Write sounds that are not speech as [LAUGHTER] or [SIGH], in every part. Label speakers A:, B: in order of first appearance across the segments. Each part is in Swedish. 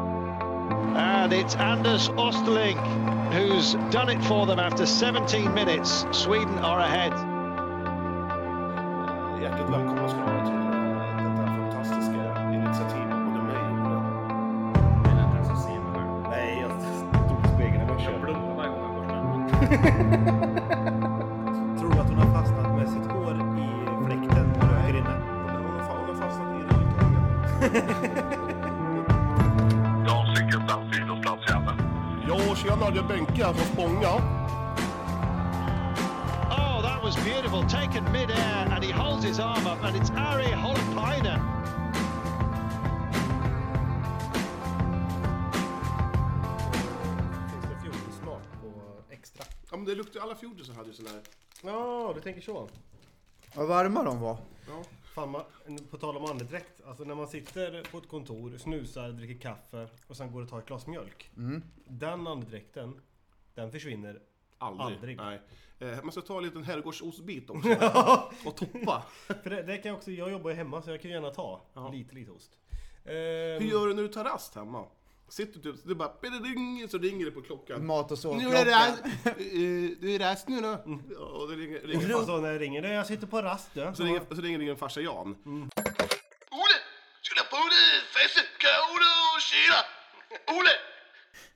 A: And it's Anders Osterling who's done it for them after 17 minutes. Sweden are ahead.
B: Eh, Hjärtligt välkomna ska ni vara till eh, detta fantastiska initiativ av både mig och den.
C: Jag vill inte ens att se mig själv.
B: Nej, jag stod i spegeln i morse.
C: Jag blundar varje gång jag borstar.
D: Tror du att hon har fastnat med sitt hår i fläkten på höger inne?
B: Hon har fan- hon har fastnat i ryggen.
E: Jag har cykelplats, idrottsplats, jävel.
F: Ja, tjena, det är Benke här från Spånga.
A: Oh, that was beautiful. Taken mid-air and he holds his arm up and it's Ari Holopainen.
D: Finns det fjortissmak på extra?
B: Ja, men det luktar ju alla fjordisar hade ju sån här.
D: Ja, du tänker så.
G: Vad varma de var.
B: Ja.
D: Fan, man, på tal om andedräkt. Alltså när man sitter på ett kontor, snusar, dricker kaffe och sen går och tar ett glas mjölk.
G: Mm.
D: Den andedräkten, den försvinner.
B: Aldrig.
D: Aldrig.
B: Nej. Eh, man ska ta en liten herrgårdsostbit också. och toppa.
D: För det, det kan jag också, jag jobbar ju hemma så jag kan ju gärna ta
B: Ja.
D: lite, lite ost.
B: Hur
D: Ehm,
B: gör du när du tar rast hemma? Sitter du typ, så det bara pididing, så ringer det på klockan.
G: Mat och sovklocka.
B: Nu är det rast, Eh, du är rast nu då? Ja, Och det ringer, ringer,
D: alltså när jag ringer, "Du, jag sitter på rast du.
B: så ringer, så ringer din farsa Jan.
E: Ole! Skulle på dig! Fesse! Kaole och kyla! Ole!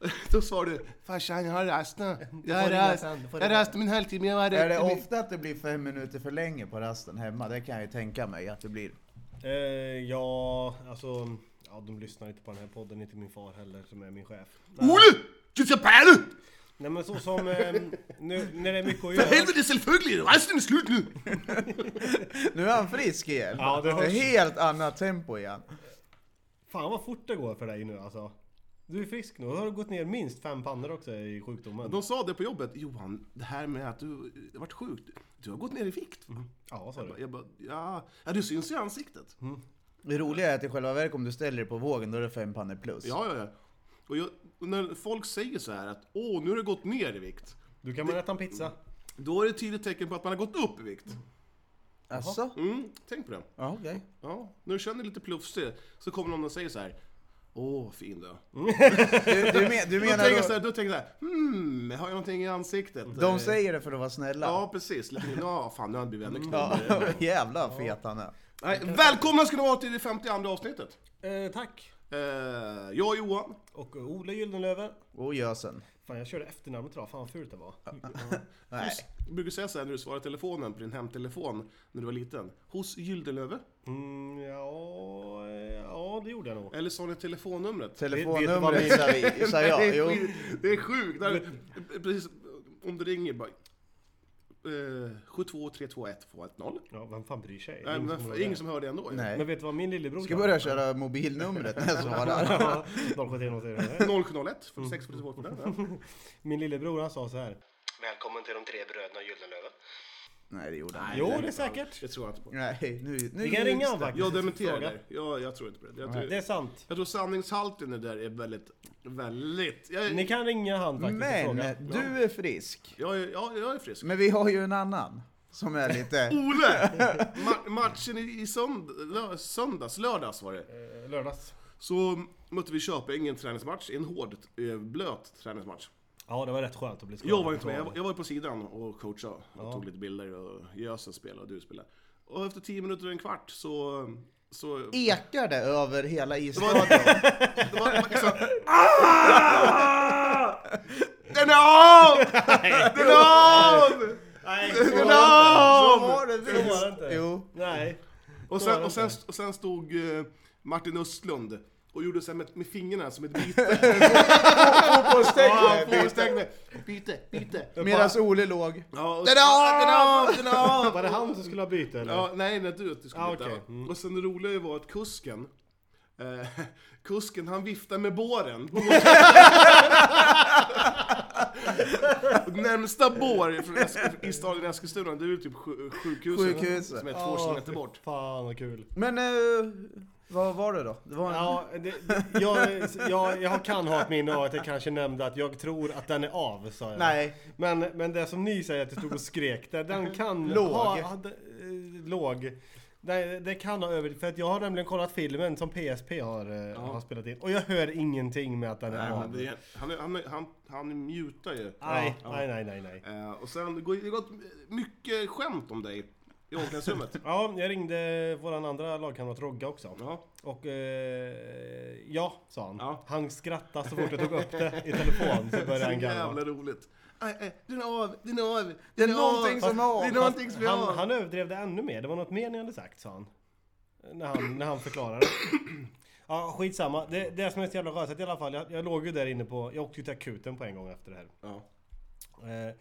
B: [LAUGHS] Då svarar du Farsan jag har rast nu. Jag har
D: får ringa
B: rast.
D: sen, du får
B: Jag har
D: ringa.
B: rast min halvtimme. Jag var
G: Är det ofta att det blir fem minuter för länge på rasten hemma? Det kan jag ju tänka mig att det blir.
D: Eh, ja, alltså... Ja, de lyssnar inte på den här podden, inte min far heller som är min chef. Nej,
B: Ole! Du ska pärla!
D: nej men så som... Eh, nu när det är mycket att
B: För
D: göra.
B: helvete selvfølgelig! Rasten är slut nu!
G: Nu är han frisk igen.
D: Ja, det hörs.
G: är helt annat tempo igen.
D: Fan vad fort det går för dig nu alltså. Du är frisk nu. Då har du gått ner minst fem pannor också i sjukdomen.
B: De sa det på jobbet. Johan, det här med att du har varit sjuk. Du har gått ner i vikt.
D: Ja, sa
B: Jag bara,
D: du.
B: jag bara ja, ja, du syns ju i ansiktet.
G: Det roliga är att i själva verket om du ställer dig på vågen då är det fem pannor plus.
B: Ja, ja, ja. Och, jag, och när folk säger så här att åh, nu har du gått ner i vikt.
D: Du kan man äta en pizza.
B: Då är det ett tydligt tecken på att man har gått upp i vikt.
G: Alltså?
B: Mm, tänk på det.
G: Ja, okej.
B: Ja, när du känner dig lite plufsig så kommer någon och säger så här. Åh, fin du är."
G: Du, du,
D: [LAUGHS]
G: men, du
B: Då tänker jag
G: menar
B: så
G: då,
B: här, då tänker jag så här, hmm, har jag någonting i ansiktet? Eh,
G: de säger det för att vara snälla?
B: Ja, precis. Lite- Ja, fan, nu har jag blivit ännu
D: [LAUGHS]
G: Ja,
B: knulligare.
G: jävla fet han är.
B: Nej, Välkomna ska ni vara till det 52 avsnittet.
D: Eh, tack.
B: Eh, jag och Johan.
D: Och eh, Ola Gyldenlöve.
G: Och gösen.
D: Fan jag körde efternamnet idag. Fan vad fult det var.
G: Nej.
B: Du brukar säga så här när du svarar telefonen på din hemtelefon när du var liten. Hos Gyldenlöve.
D: Mm, ja, eh, ja, det gjorde jag nog.
B: Eller sa ni telefonnumret?
D: Vet-
G: Telefonnumret
D: vet
G: sa [LAUGHS] vi- sa
B: det,
G: jag.
B: är
G: Jo.
B: sjukt. det är sjukt. Där, precis, om du ringer bara... Eh, 72 321 210.
D: Ja, vem fan bryr sig?
B: Nej,
D: Ingen
B: men
D: som
B: f-
D: håller
B: ingen
D: med.
B: som hör det ändå ju.
G: Nej.
D: Men vet du vad min lillebror
G: Ska börja köra mobilnumret när
D: [LAUGHS]
G: jag svarar.
D: 0710
B: 0701 46 42 på den. [LAUGHS] ja.
D: Min lillebror han sa så här.
C: Välkommen till de tre bröderna Gyldenlöven.
G: Nej, det gjorde han
B: Nej,
G: inte.
D: Jo,
B: det
D: det
B: är
D: är säkert.
B: Det tror jag inte på.
G: Nej, nu, nu
D: Vi kan ringa honom faktiskt.
B: Jag dementerar
D: Fråga.
B: det. Jag, jag tror inte på det. Jag
D: Det
B: tror,
D: är sant.
B: jag tror sanningshalten i det där är väldigt, väldigt... Jag,
D: Ni kan ringa han faktiskt och
G: Men
D: fråga.
G: du är frisk.
B: jag, är- ja, jag är frisk.
G: Men vi har ju en annan som är
B: [LAUGHS]
G: lite...
B: Ole! Ma- matchen i, i sönd lö- söndags, lördags var det.
D: Eh, Lördags.
B: Så mötte vi Köping i en träningsmatch, en hård, eh, blöt träningsmatch.
D: Ja, det var rätt skönt att bli skadad.
B: Jag var inte med, jag var- jag var på sidan och coachade och tog lite bilder och Jösen spelade och du spelade. Och efter 10 minuter och en kvart så... så det
G: Ekar det över hela
B: var,
G: isstadion? [LAUGHS]
B: det var, det var liksom... Ah! Den är av! Den är av! [LAUGHS]
D: Nej,
B: Den
D: så-
G: Så
B: är av!
G: var det
D: det var det
G: visst!
D: inte.
G: Jo.
D: nej.
B: Och sen, och sen, och sen stod eh, Martin Östlund och gjorde så här med, med fingrarna som ett byte.
G: Fotbollstecknet!
B: byte, byte.
G: Medan Ole låg.
B: Ja, och-
G: Den är av! Den är av!
D: Var det han som skulle ha bytt eller?
B: [LAUGHS] Ja, nej, nej du, du skulle
D: Ah,
B: inte.
D: okej.
B: Och sen det roliga var att kusken, eh, [LAUGHS] kusken han viftade med båren. Båren. Närmsta bår från Esk- i staden Eskilstuna, det är ju typ sju- sjukhuset,
G: Sjukhuset.
B: som är två
D: Åh,
B: kilometer bort.
D: Fan vad kul.
G: Men eh, vad var det då? Det var en...
D: Ja, det, jag, jag, jag kan ha ett minne av att jag kanske nämnde att jag tror att den är av, sa jag.
G: Nej.
D: Men,
B: [LAUGHS]
D: men det som ni säger att jag stod och skrek, där, den kan
G: Låg.
D: Ha, ha, eh, låg. Nej, det kan ha över... För att jag har nämligen kollat filmen som PSP har, eh, har spelat in. Och jag hör ingenting med att den är
B: Nej, men
D: av.
B: det, är- han, är- han, är- han, han mutar ju.
D: Nej,
B: Ja.
D: nej, nej, nej, nej.
B: Eh, och sen, det går- det har gått mycket skämt om dig i omklädningsrummet.
D: Ja, jag ringde våran andra lagkamrat Rogga också.
B: ja.
D: Och eh, ja, sa han.
B: Ja.
D: Han skrattade så fort jag tog upp det i telefon så började
B: [LAUGHS] Så
D: han garva.
B: jävla roligt. Aj, aj, Den är av, den är av, den
G: Det är någonting som är av.
B: Det är någonting som är
D: Han,
B: av.
D: han överdrev det ännu mer. Det var något mer ni hade sagt, sa han. När han, när han förklarade. [CLEARS THROAT] Ja, skitsamma. Det, det som är så jävla röset i alla fall. Jag, jag låg ju där inne på... Jag åkte ju till akuten på en gång efter det här.
B: Ja.
D: Eh,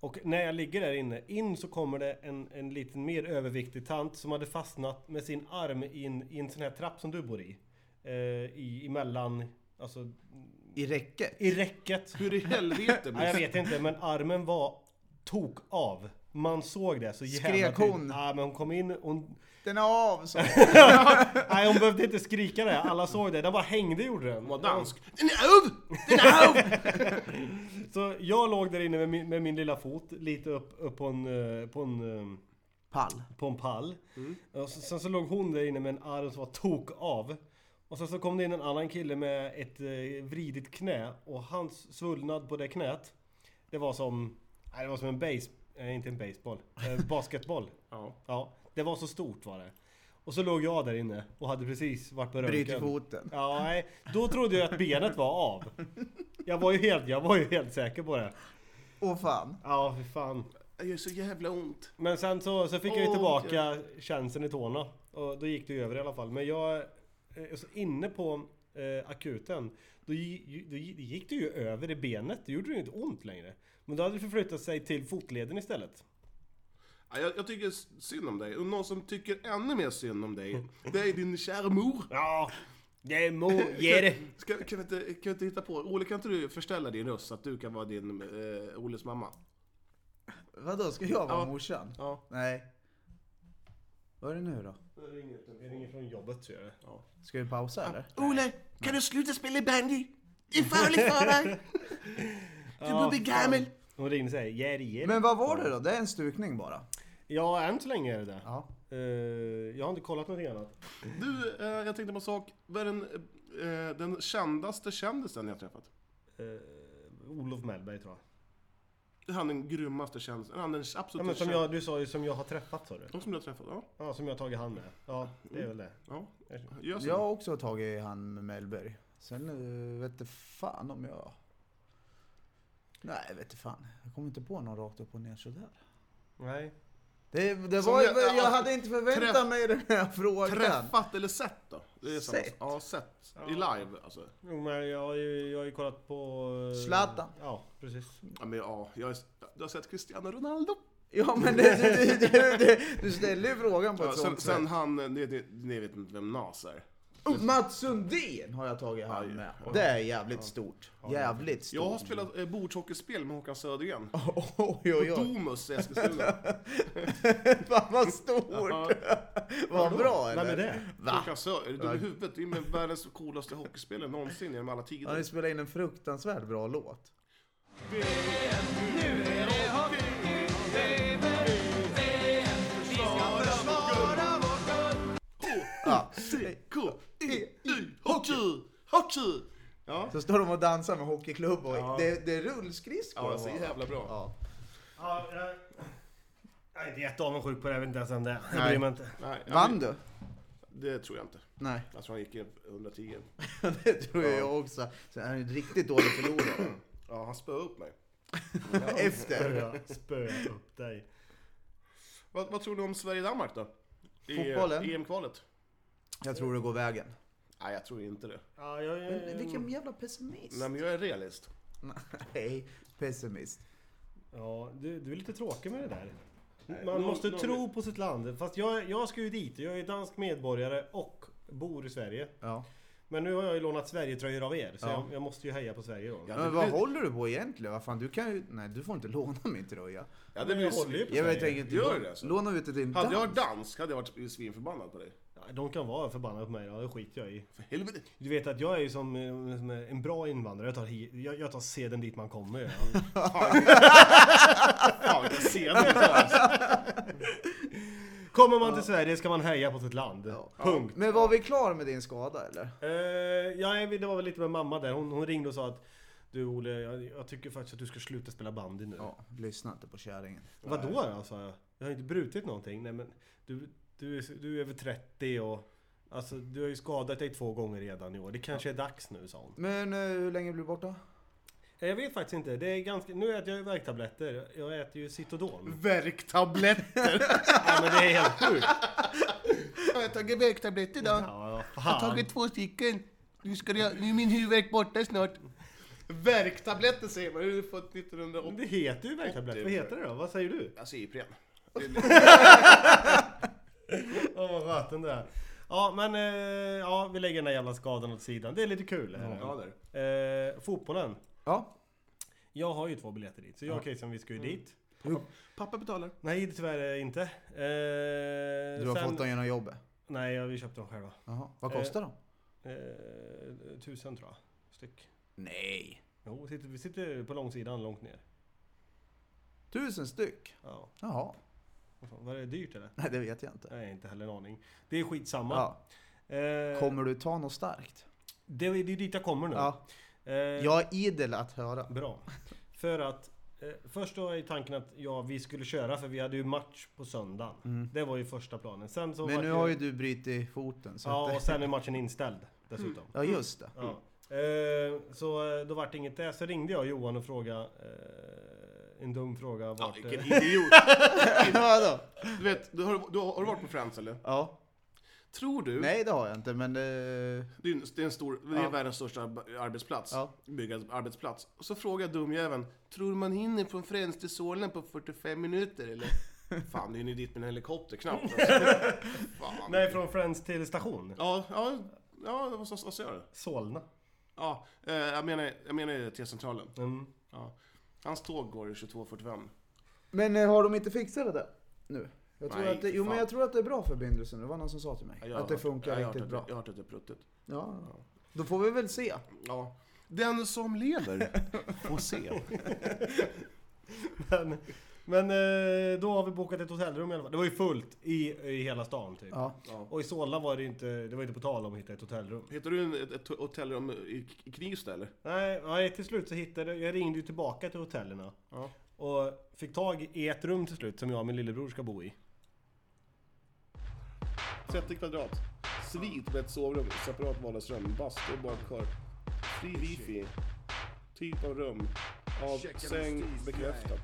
D: och när jag ligger där inne, in så kommer det en, en liten mer överviktig tant som hade fastnat med sin arm i en, i en sån här trapp som du bor i. Eh, i emellan, alltså
G: I räcket?
D: i räcket.
B: Hur i helvete
D: Ja, jag
B: Bosse?
D: vet
G: Liksom.
D: inte, men armen var tok av. Man såg det så jävla
G: Skrek
D: tydligt.
G: hon?
D: Ja, men hon kom in, hon...
G: Den är av så.
D: Nej, hon behövde inte skrika det. Alla såg det. Den bara hängde gjorde den.
B: Han var dansk. Den är av! Den är av!
D: Så jag låg där inne med min, med min lilla fot, lite upp, upp på en... eh, På en eh,
G: Pall.
D: på en pall. Och så, sen så låg hon där inne med en arm som var tok av. Och sen så kom det in en annan kille med ett eh, vridigt knä och hans svullnad på det knät Det var som, nej det var som en base, eh, inte en baseball, eh, basketboll.
B: Ja.
D: ja, det var så stort var det. Och så låg jag där inne och hade precis varit på röntgen.
G: Bryter foten.
D: Ja, nej. Då trodde jag att benet var av. Jag var ju helt, jag var ju helt säker på det.
G: Åh fan.
D: Ja, fy fan.
B: Det gör så jävla ont.
D: Men sen så, så fick jag ju
B: Åh,
D: tillbaka känslan i tårna. Och då gick det ju över i alla fall. Men jag... eh, Så inne på eh, akuten. Då, gi- då gi- gick det ju över i benet. Det gjorde ju inte ont längre. Men då hade det förflyttat sig till fotleden istället.
B: Ja, jag, jag tycker synd om dig. Och någon som tycker ännu mer synd om dig, det är din kära mor.
D: Ja, det är [LAUGHS] mo... Ge det!
B: Ska, kan, vi inte, kan vi inte hitta på... Olle, kan inte du förställa din röst så att du kan vara din, eh, Olles mamma?
G: Vadå, ska jag vara
B: Ja.
G: morsan?
B: Ja.
G: Nej. Vad är det nu då?
D: Jag ringer från jobbet så gör det.
G: Ska vi pausa eller?
B: Ole, kan du sluta spela bandy? Det är farligt för dig! Du börjar bli gammal!
D: Hon ringer och säger ge det, ge det.
G: Men vad var det då? Det är en stukning bara?
D: Ja, än så länge är det det.
G: Ja.
D: Eh, jag har inte kollat någonting annat.
B: Du, eh, jag tänkte på en sak. Vad är den, eh, den kändaste kändisen ni har träffat?
D: Eh, Olof Mellberg tror jag.
B: Är han den grymmaste kändisen? Är han den
D: Ja,
B: absolut
D: men som
B: känd-
D: jag, du sa ju som jag har träffat sa du.
B: De som du har träffat? Ja.
D: Ja, som jag har tagit hand med. Ja, det är väl det.
B: ja. Gör så.
G: Jag har också tagit hand med Mellberg. Sen eh, vet du fan om jag... Nej, vet du fan. Jag kommer inte på någon rakt upp och ner sådär.
D: Nej.
G: Det, det
B: Som
G: var,
B: jag-
G: jag,
B: ja,
G: hade inte förväntat
B: träff-
G: mig den här frågan.
B: Träffat eller sett då? Det är samma-
G: Sett?
B: Ja, sett. I live alltså.
D: Jo, men jag har ju, jag har ju kollat på... eh,
G: Zlatan.
D: Ja, precis.
B: Ja, men ja, jag, är- du har sett Cristiano Ronaldo?
G: Ja men det, det, det, det, det, du ställde ju frågan på ett
B: Ja, sen,
G: sånt
B: sen
G: sätt.
B: han, eh, ni, ni, ni vet inte vem Nas är?
G: Oh, Mats Sundin har jag tagit hand med. Det är jävligt stort. Jävligt stort.
B: Jag har spelat eh, bordshockeyspel med Håkan Södergren.
G: [LAUGHS] Oj oj oj.
B: Domus i Eskilstuna.
G: Fan vad stort. Vad bra
D: Nej,
G: eller?
D: men det.
G: Va?
B: Håkan Söder, är du dum i huvudet? Det är med världens coolaste hockeyspelare någonsin genom alla
G: Han har ju
B: tider.
G: spelat in en fruktansvärt bra låt. Ja.
B: K-I-I, hockey! Hockey! Ja,
G: Så står de och dansar med hockeyklubb och
B: Ja.
G: det, det är rullskridskor. alltså.
B: ja så
G: va?
B: jävla bra.
G: Ja.
D: Ja, jag, jag är inte jätteavundsjuk på det. Jag vet inte ens om det. Jag bryr mig inte.
B: Nej, ja,
G: Vann du?
B: Det tror jag inte.
G: Nej, [LAUGHS]
B: Jag tror han gick in 110.
G: det tror jag också. Så han är en riktigt dålig förlorare.
B: [CLEARS THROAT] Ja, han spöade upp mig.
G: Efter.
D: Spöa- Spöa upp dig.
B: Vad, vad tror du om Sverige-Danmark då? I
G: Fotbollen?
B: eh, EM-kvalet?
G: Jag tror det går vägen.
B: Nej, jag tror inte det.
D: Ja, jag,
G: Vilken jävla pessimist.
B: Nej, men jag är realist.
G: Nej, pessimist.
D: ja du, du är lite tråkig med det där. Man
B: någon-
D: måste
B: någon-
D: tro på sitt land. Fast jag, jag ska ju dit. Jag är ju dansk medborgare och bor i Sverige.
G: Ja.
D: Men nu har jag ju lånat Sverigetröjor av er. Så
G: Ja.
D: jag, jag måste ju heja på Sverige då.
B: Ja,
G: Men vad håller du på egentligen? Vad fan, du kan ju... Nej, du får inte låna min tröja.
B: Ja, det
D: Men
B: blir
D: jag håller ju
B: svin.
D: på
G: Jag vet
D: Sverige.
G: inget.
B: Gör det alltså?
G: Låna ut det till en
B: Hade jag
G: dans.
B: varit dansk hade jag varit svinförbannad på dig.
D: Ja, De kan vara förbannade på mig. Ja, det skiter jag i.
B: För helvete.
D: Du vet att jag är ju som, eh, som en bra invandrare. Jag tar, hi- jag, jag tar seden dit man kommer. Ja.
B: Fan vilka scener det är.
D: Kommer man till Sverige ska man heja på sitt land. Punkt.
G: Men var vi klara med din skada eller?
D: Eh, ja, det var väl lite med mamma där. Hon, hon ringde och sa att du Olle, jag, jag tycker faktiskt att du ska sluta spela bandy nu.
G: Ja, lyssna inte på kärringen.
D: Vadå då? sa jag. Jag har inte brutit någonting. Nej men du, du, är, du är över 30 och alltså, du har ju skadat dig två gånger redan i år. Det kanske är dags nu, sa hon.
G: Men eh, hur länge blir du borta?
D: Eh, Jag vet faktiskt inte. Det är ganska, nu äter jag ju värktabletter. Jag äter ju Citodon.
H: Värktabletter!
B: [LAUGHS]
D: Ja, men det är helt sjukt.
H: Jag har tagit värktabletter idag.
D: Ja,
H: Jag har
D: fan.
H: tagit två stycken. Nu, ska jag, nu är min huvudvärk borta snart. Värktabletter säger man. Hur har du fått 1980?
D: Det heter ju värktabletter. Vad heter det då? Vad säger du?
B: Alltså Ipren.
D: Åh vad skönt den där. Ja men eh, ja, vi lägger den där jävla skadan åt sidan. Det är lite kul.
B: Ja, där.
D: Eh, fotbollen.
G: Ja.
D: Jag har ju två biljetter dit. Så jag och Kejsan vi ska
G: Mm.
D: ju dit.
B: Pappa betalar.
D: Nej det tyvärr eh, inte. Eh,
G: Du har
D: sen-
G: fått dem genom jobbet?
D: Nej ja, vi köpte dem själva.
G: Jaha. Vad kostar de?
D: Eh, tusen tror jag. Styck.
G: Nej.
D: Jo, vi sitter, vi sitter på långsidan långt ner.
G: Tusen styck?
D: Ja.
G: Jaha.
D: vad fan, Var det dyrt eller?
G: Nej, det vet jag inte.
D: Nej inte heller en aning. Det är skitsamma.
G: Ja.
D: Eh,
G: Kommer du ta något starkt?
D: det, är- det är dit jag kommer nu.
G: Ja.
D: Eh,
G: Jag är idel att höra.
D: Bra. För att eh, först då är tanken att ja, vi skulle köra för vi hade ju match på söndagen. Det var ju första planen. Sen så
G: Mm. Men
D: vart
G: nu
D: det-
G: har ju du brutit foten. Så
D: Ja,
G: att,
D: och sen är matchen inställd dessutom.
G: ja just det. [LAUGHS]
D: Ja. Eh, så eh, då vart det inget där. Så ringde jag Johan och frågade eh, en dum fråga. Vart, eh,
B: Vilken
H: [LAUGHS]
B: idiot.
G: Vadå?
B: Du vet, du har, du har, har du varit på Friends eller?
G: ja.
B: Tror du?
G: Nej, det har jag inte, men... eh,
B: Det är, en- det är, en stor, det är världens största ab- arbetsplats.
G: Ja.
B: Byggarbetsplats. Och så frågar dumjäveln, tror du man hinner från Friends till Solna på 45 minuter eller?
G: [LAUGHS]
B: Fan, du hinner dit med en helikopter knappt. Alltså. Fan.
D: nej, från Friends till station.
B: Ja, ja, ja, vad vad- vad sa jag?
D: Solna.
B: Ja, eh, jag menar, jag menar ju T-centralen.
D: Mm.
B: Ja. Hans tåg går i 22.45.
G: Men eh, har de inte fixat det där nu? Jag tror
B: Nej,
G: att det,
B: för
G: jo, men
B: fan.
G: jag tror att det är bra förbindelser nu. Det var någon som sa till mig.
B: Ja, jag har
G: att det
B: hört-
G: funkar
B: jag har
G: riktigt
B: hört
G: bra.
B: att det- Jag har hört att det är pruttet.
G: Ja. Då får vi väl se.
B: Ja. Den som lever får
G: [LAUGHS]
B: se.
D: Men, men eh, då har vi bokat ett hotellrum i alla fall. Det var ju fullt i, i hela stan typ.
G: Ja.
D: Och i Solna var det ju inte, det var inte på tal om att hitta ett hotellrum.
B: Hittar du en, ett, ett hotellrum i, i Knivsta eller?
D: Nej, nej, till slut så hittade jag, ringde ju tillbaka till hotellerna.
B: Ja.
D: Och fick tag i ett rum till slut som jag och min lillebror ska bo i.
B: 30 kvadrat. Svit med ett sovrum, separat vardagsrum, bastu och badkar. Fri wifi. Typ av rum. Av säng bekräftat.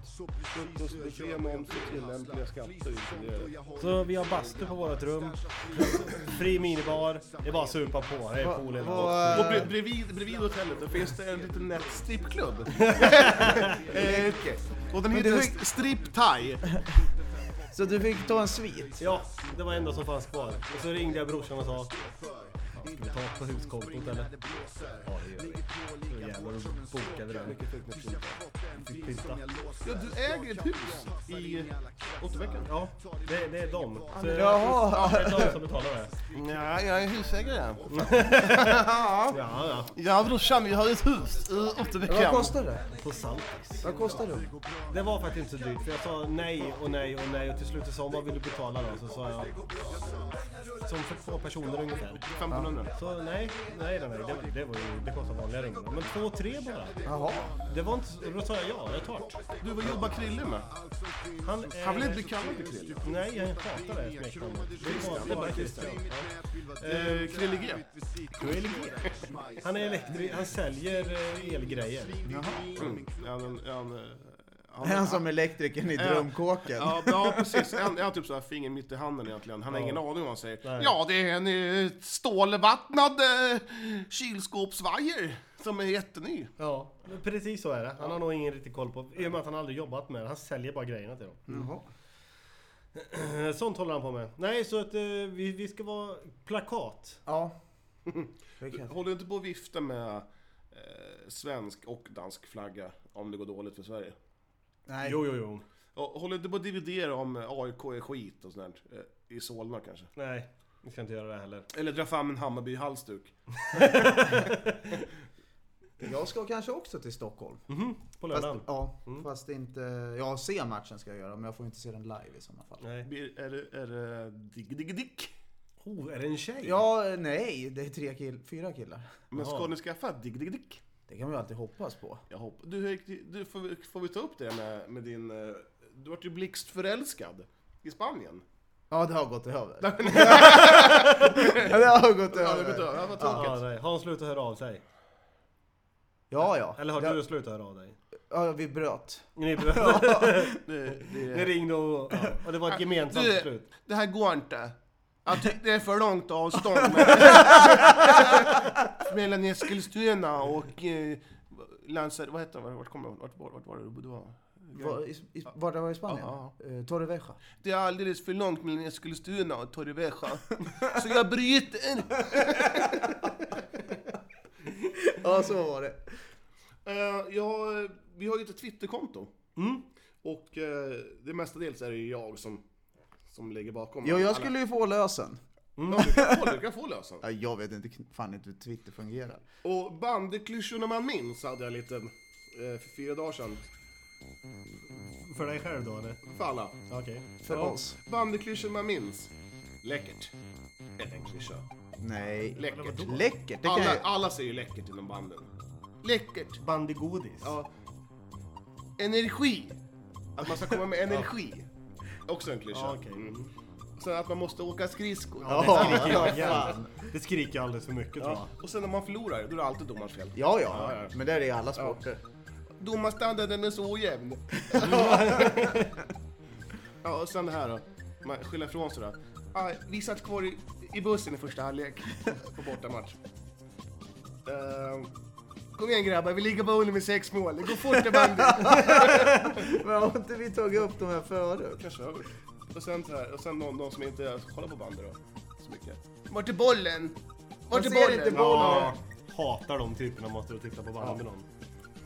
B: Frukostbuffé, moms och tillämpliga skatter inkluderade.
D: Så vi har bastu på vårt rum. Fri minibar. Det är bara att supa på. Det är pool hela dagen.
G: Vad,
B: Och bre- bredvid, bredvid hotellet där finns det en liten [LAUGHS] nätstrippklubb. eh, och den
G: det
B: heter
G: var-
B: St- Strip Thai.
G: så du fick ta en svit?
D: Ja, det var det enda som fanns kvar. Och så ringde jag brorsan och sa... "Fan, Ska vi ta på huskontot eller? Ja, det gör vi. Så jävlar då bokade vi den. Fick pynta.
B: Ja, du äger ett hus i Otterbäcken.
D: Ja, det, det är dem. Så,
G: Jaha.
D: Det är de som betalar det.
B: Ja, jag är husägare.
D: Ja, ja.
B: Ja brorsan, vi har ett hus i Otterbäcken.
G: Vad kostar det?
D: På Saltis.
G: Vad kostar det?
D: Det var faktiskt inte så dyrt för jag sa nej och nej och nej och till slut så sa hon vad vill du betala då? Så sa jag som för två personer ungefär.
B: 1500.
D: Så nej, nej, nej, nej det, det var ju, det kostade vanliga ringar. Men två, tre bara.
G: Jaha.
D: Det var inte, så- då sa jag ja, jag tar det.
B: Du, vad jobbar Krille med?
D: Han, är-
B: Han vill inte bli kallad till Krille.
D: Nej, jag hatar det smeknamnet. Det var- Det var Christian.
B: Eh, Krille G.
D: Han är elektri, han säljer eh, elgrejer.
B: Mm. Ja, men, ja, men, eh,
G: Det är
B: han,
G: han som elektrikern i drömkåken.
B: ja, ja, precis. Han har typ så här finger mitt i handen egentligen. Han har ingen aning om vad han säger.
D: Nej.
B: Ja, det är en eh, stålvattnad eh, kylskåpsvajer som är jätteny.
D: Ja, men precis så är det. Han har nog ingen riktig koll på, i och med att han aldrig jobbat med det. Han säljer bara grejerna till dem.
G: Jaha.
B: Mm.
D: Eh, Sånt håller han på med. Nej, så att eh, vi, vi ska vara plakat.
G: Ja. Det kan jag inte.
B: Håller inte på att vifta med eh, svensk och dansk flagga om det går dåligt för Sverige.
G: Nej.
D: Jo, jo, jo.
B: Och, håller inte på att dividera om eh, AIK är skit och sånt där, eh, i Solna kanske.
D: Nej, vi ska inte göra det heller.
B: Eller dra fram en Hammarby-halsduk.
G: Jag ska kanske också till Stockholm.
D: Mhm, på
G: Fast,
D: lördagen.
G: ja,
D: Mm.
G: fast inte... Ja, se matchen ska jag göra, men jag får inte se den live i sådana fall.
D: Nej.
E: Blir- Är det, är det digg, digg, digg?
D: Oh, är det en tjej?
G: Ja, eh, nej, det är tre kill, fyra killar.
E: Men ska
D: Jaha.
E: ni skaffa digg, digg, digg?
G: Det kan vi ju alltid hoppas på.
E: Jag hoppas... Du, Erik, du får, vi- får vi ta upp det med, med din... eh, Du vart ju blixtförälskad i Spanien.
G: Ja, det har
B: [LAUGHS]
G: gått över. ja, det har gått
E: Ja, det betyder,
G: över.
E: ja, vad
D: Ja,
E: tråkigt.
D: nej. Har hon slutat höra av sig?
G: Ja, ja.
D: Eller har
G: Det-
D: du slutat höra av dig?
G: Ja, vi bröt.
D: Ni, ja.
B: Eh,
E: Det,
D: ni
E: det,
D: ringde och, ja. och det var ett gemensamt
B: Du-
D: beslut.
B: Det här går inte. Jag tycker det är för långt avstånd
G: [LAUGHS]
E: [LAUGHS] mellan Eskilstuna och eh, Lanser, vad heter det? Vart kom jag? Vart, var- vart var det du bodde?
G: Var, i, i, var det var i Spanien?
E: Ja,
G: Eh, Torrevieja.
B: Det är alldeles för långt mellan Eskilstuna och Torrevieja. Så jag
G: [LAUGHS]
B: bryter.
G: Ja, så var det.
E: Eh, jag, vi har ju ett Twitterkonto.
D: Mm.
E: Och eh, det mestadels är det ju jag som, som ligger bakom.
G: Jo,
E: alla-
G: jag skulle ju få lösen.
E: Ja, du, kan få, du kan få lösen.
G: Ja, jag vet inte kn- fan inte hur Twitter fungerar.
E: Och bandyklyschorna man minns hade jag en liten, eh, för fyra dagar sedan.
D: För dig själv då eller?
E: För alla.
D: Okej.
G: För oss.
E: Bandyklyschor man minns. Läckert. Är det en klyscha?
G: Nej.
E: Läckert.
G: Läckert, det kan
E: Alla,
G: jag...
E: alla säger ju läckert inom banden.
B: Läckert.
D: Bandygodis.
E: Ja,
B: Energi.
E: att man ska komma med energi. Också en klyscha.
D: Ja, okej.
E: Mm. Sen att man måste åka skridskor.
D: Det skriker jag igen. Det skriker jag alldeles för mycket tror jag.
E: Ja. Och sen när man förlorar, då är det alltid domarens fel.
G: Ja, ja. Men det är det i alla sporter.
E: Domarstandarden är så
G: [LAUGHS]
E: ojämn. ja, och sen det här då. Man skyller ifrån sig då. Ah, vi satt kvar i, i bussen i första halvlek på bortamatch. Ehm,
B: Kom igen grabbar, vi ligger bara under med sex mål. Det går fort i
G: [LAUGHS]
B: bandy.
G: Men har inte vi tagit upp de här förut?
E: kanske har gjort. Och sen, så här, och sen någon, någon som inte kollar på bandet då. Så mycket.
B: Vart är bollen?
G: Man
B: Vart är
G: ser inte
B: bollen?
D: Ja. Hatar de typerna måste du titta på banden om.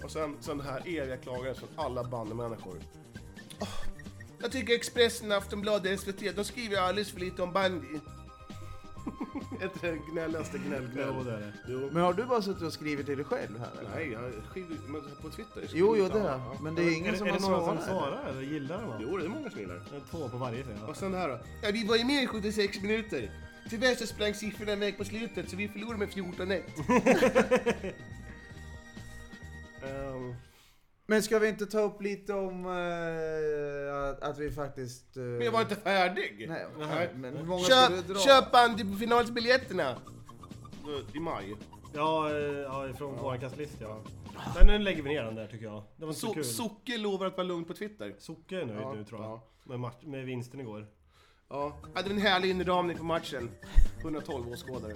E: Och sen, sen det här eviga klagandet från alla bandymänniskor.
B: Jag tycker Expressen, Aftonbladet, SVT, de skriver alldeles för lite
E: [LAUGHS]
B: om bandy.
E: Är inte det gnälligaste gnäll, gnäll?
D: Jo, det är det.
E: Jo.
G: Men har du bara suttit och skrivit till dig själv här eller?
E: Nej, jag skriver men på Twitter. skriver
G: Jo, jo
E: inte
G: det
E: alla.
G: har
E: Ja.
G: jag. Men det är ingen
D: är,
G: som
D: är
G: har
D: det någon
G: svarat.
D: som svarar eller gillar den? va?
E: Jo, det är många som gillar det.
D: Det är Två på varje säger jag.
E: Och sen det här då.
B: Ja, vi var ju med i 76 minuter. Tyvärr så sprang siffrorna iväg på slutet så vi förlorade med 14-1.
E: Ehm,
G: Men ska vi inte ta upp lite om eh, att, att vi faktiskt... eh,
E: Men jag var inte färdig!
G: Nej, nej, men hur många ska du
B: Köp,
G: dra?
B: köp bandyfinalsbiljetterna!
E: Då- I maj.
D: Ja, eh, ja från vår kastlist ja. Nej, nu lägger vi ner den där tycker jag. Det var inte så
E: So
D: kul.
E: Socke lovar att vara lugn på Twitter.
D: Socke är nöjd
E: Ja,
D: nu tror jag.
E: ja.
D: Med, match, med vinsten igår.
E: Ja. Hade en härlig inramning på matchen. 112 åskådare.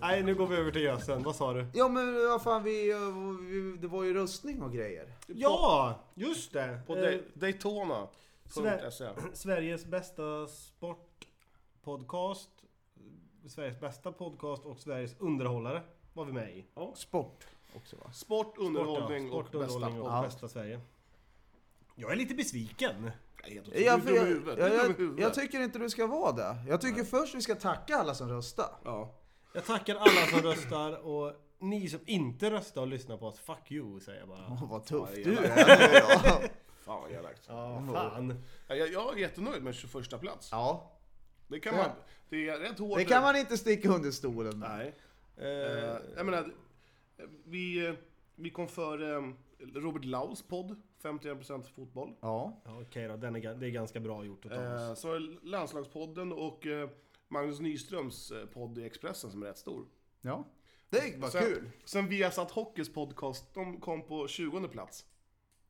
D: Nej, nu går vi över till gösen. Vad sa du?
G: Ja men vad fan vi, eh, vi... Det var ju röstning och grejer.
D: Ja, just det!
E: På
D: Eh,
E: Day-
B: E.
E: Daytona.se.
D: Sveriges bästa sportpodcast. Sveriges bästa podcast och Sveriges underhållare var vi med i.
G: Sport också va?
E: Sport, underhållning
D: Sport,
E: och bästa.
D: underhållning och
G: Ja.
D: bästa Sverige. Jag är lite besviken.
E: Jag är helt otroligt.
G: Jag,
E: Du är dum i
G: jag,
E: huvudet. Du är
G: jag,
E: dum i
G: jag,
E: huvudet.
G: jag tycker inte du ska vara det. Jag tycker först vi ska tacka alla som röstar.
E: Ja.
D: Jag tackar alla som röstar och ni som inte röstar och lyssnar på oss, fuck you säger jag bara.
G: Åh, vad
E: Ja,
G: tufft
E: det är
G: du
E: jävla-
G: är.
E: Fan vad elakt.
D: Ja, fan.
E: Ja, Jag, jag är jättenöjd med 21 plats.
G: Ja,
E: Det kan
G: Ja.
E: man... Det är rätt hårt.
G: det kan man inte sticka under stolen med.
E: Nej. Eh, jag menar, vi, eh, vi kom före eh, Robert Laus podd, 51% fotboll.
G: Ja,
D: Ja, Okej då, den är, ga- det är ganska bra gjort att ta
E: Eh,
D: oss.
E: så är landslagspodden och eh, Magnus Nyströms eh, podd i Expressen som är rätt stor.
G: ja. Det var
E: sen,
G: kul.
E: Sen Viasat Hockeys podcast, de kom på 20 plats.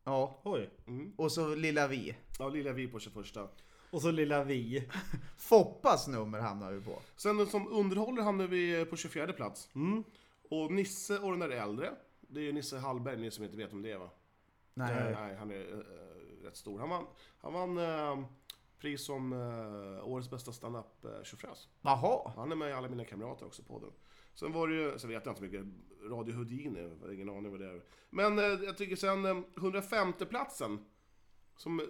G: Ja,
D: Oj.
G: och så lilla vi.
E: Ja, Lilja vi på 21.
D: Och så lilla vi.
G: Foppas nummer hamnar vi på.
E: Sen som underhåller hamnade vi på 24 plats. Och Nisse och den där äldre, det är ju Nisse Hallberg, ni som inte vet om det är, va?
G: Nej.
E: Nej, han är eh, rätt stor. Han vann, han vann eh, pris som eh, årets bästa standup eh, tjofräs.
G: Jaha.
E: Han är med i alla mina kamrater också på den. Sen var det ju, sen vet jag inte så mycket, Radio Houdini, jag har ingen aning vad det är. Men eh, jag tycker sen eh, 105 platsen som eh,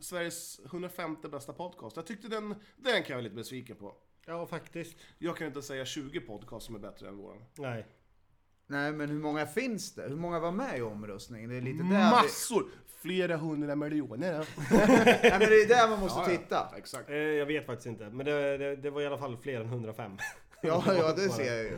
E: Sveriges 105 bästa podcast. Jag tyckte den, den kan jag vara lite besviken på.
D: Ja, faktiskt.
E: Jag kan inte säga 20 podcast som är bättre än våran.
D: Nej.
G: Nej, men hur många finns det? Hur många var med i omröstningen? Det är lite där vi...
E: Massor! Flera hundra miljoner. ja.
G: Nej, men det är där man måste
E: Ja, ja.
G: titta.
E: Exakt.
D: Eh, jag vet faktiskt inte, men det, det, det var i alla fall fler än 105.
G: Ja, ja, det ser jag ju.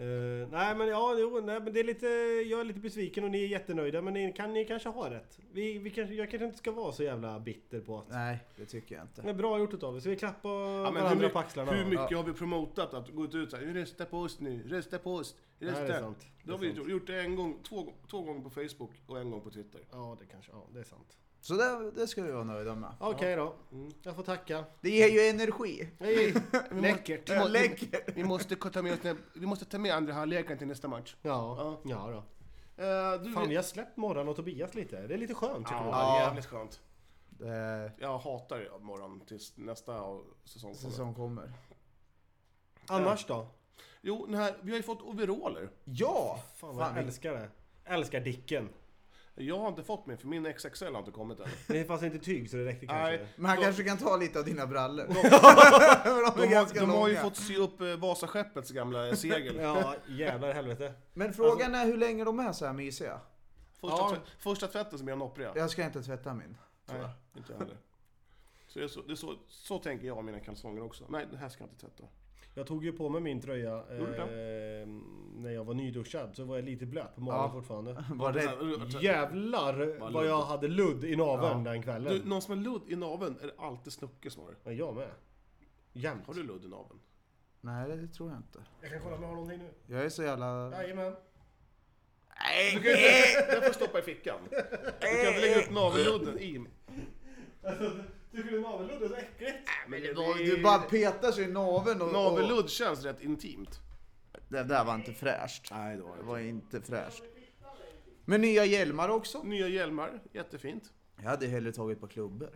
D: Eh, nej men ja, jo, nej, men det är lite, jag är lite besviken och ni är jättenöjda men ni, kan, ni kanske har rätt. Vi, vi kanske, jag kanske inte ska vara så jävla bitter på att...
G: Nej, det tycker jag inte.
D: Men bra gjort utav er, så vi klappar
E: Ja, men hur,
D: varandra
E: mycket-
D: på axlarna.
E: hur
D: va?
E: mycket har vi promotat att gå ut så här, rösta på oss nu, rösta på oss,
D: det
E: rösta.
D: är sant.
E: Då har
D: Det är
E: vi gjort, gjort det en gång, två, gång- två gånger på Facebook och en gång på Twitter.
D: Ja det kanske, ja det är sant.
G: Så det, det ska vi vara nöjda med.
D: Okej då, Mm. jag får tacka.
G: Det ger ju energi.
D: Hej!
E: Läckert!
G: Ja, läcker.
E: Vi måste, ta med, oss den- vi måste ta med andra halvleken till nästa match.
D: Ja, ja då.
E: Eh, du,
D: Fan vi har släppt Morran och Tobias lite, det är lite skönt tycker
E: Ja,
D: jag.
E: det är jävligt skönt.
G: Eh,
E: Jag hatar ju morgon tills nästa säsong kommer.
G: säsong kommer.
D: Annars då?
E: Jo, den här, vi har ju fått overaller.
G: Ja!
D: Fan vad jag älskar det. Älskar Dicken.
E: Jag har inte fått min, för min XXL har inte kommit än.
D: Det fanns inte tyg så det räckte kanske.
E: Nej,
G: Men han kanske kan ta lite av dina brallor. [LAUGHS] De, är
E: de, har,
G: ganska
E: de har ju
G: långa.
E: fått sy upp eh, Vasaskeppets [LAUGHS] gamla segel.
D: Ja jävlar i helvete.
G: Men frågan är hur länge de är så här mysiga.
E: Första,
D: Ja.
E: tvä- första tvätten som jag noppriga.
G: Jag ska inte tvätta min.
E: Nej, inte jag heller. Så, det är så, det är så, så tänker jag om mina kalsonger också. Nej, det här ska jag inte tvätta.
D: Jag tog ju på mig min tröja
E: Gjorde du
D: eh, när jag var nyduschad så var jag lite blöt på magen
G: Ja.
D: fortfarande.
G: Var
E: Så
G: rädd.
E: här,
D: Jävlar vad jag hade ludd i naveln den kvällen.
E: Du, någon som har ludd i naveln är det alltid Snucke som har det.
D: Men jag med. Jämt.
E: Har du ludd i naveln?
G: Nej, det tror jag inte.
D: Jag kan kolla om jag har någonting nu.
G: Jag är så jävla...
D: Jajamän.
E: Den får stoppa i fickan. Du kan inte lägga upp navelludden i.
D: Tycker du navelludd är så äckligt?
E: Men det
G: Du bara petar sig i naveln och... och...
E: Navelludd känns rätt intimt.
G: Det där var inte fräscht.
E: Nej, det var
G: Det var inte fräscht. Men nya hjälmar också.
E: Nya hjälmar, jättefint.
G: Jag hade hellre tagit på klubbor.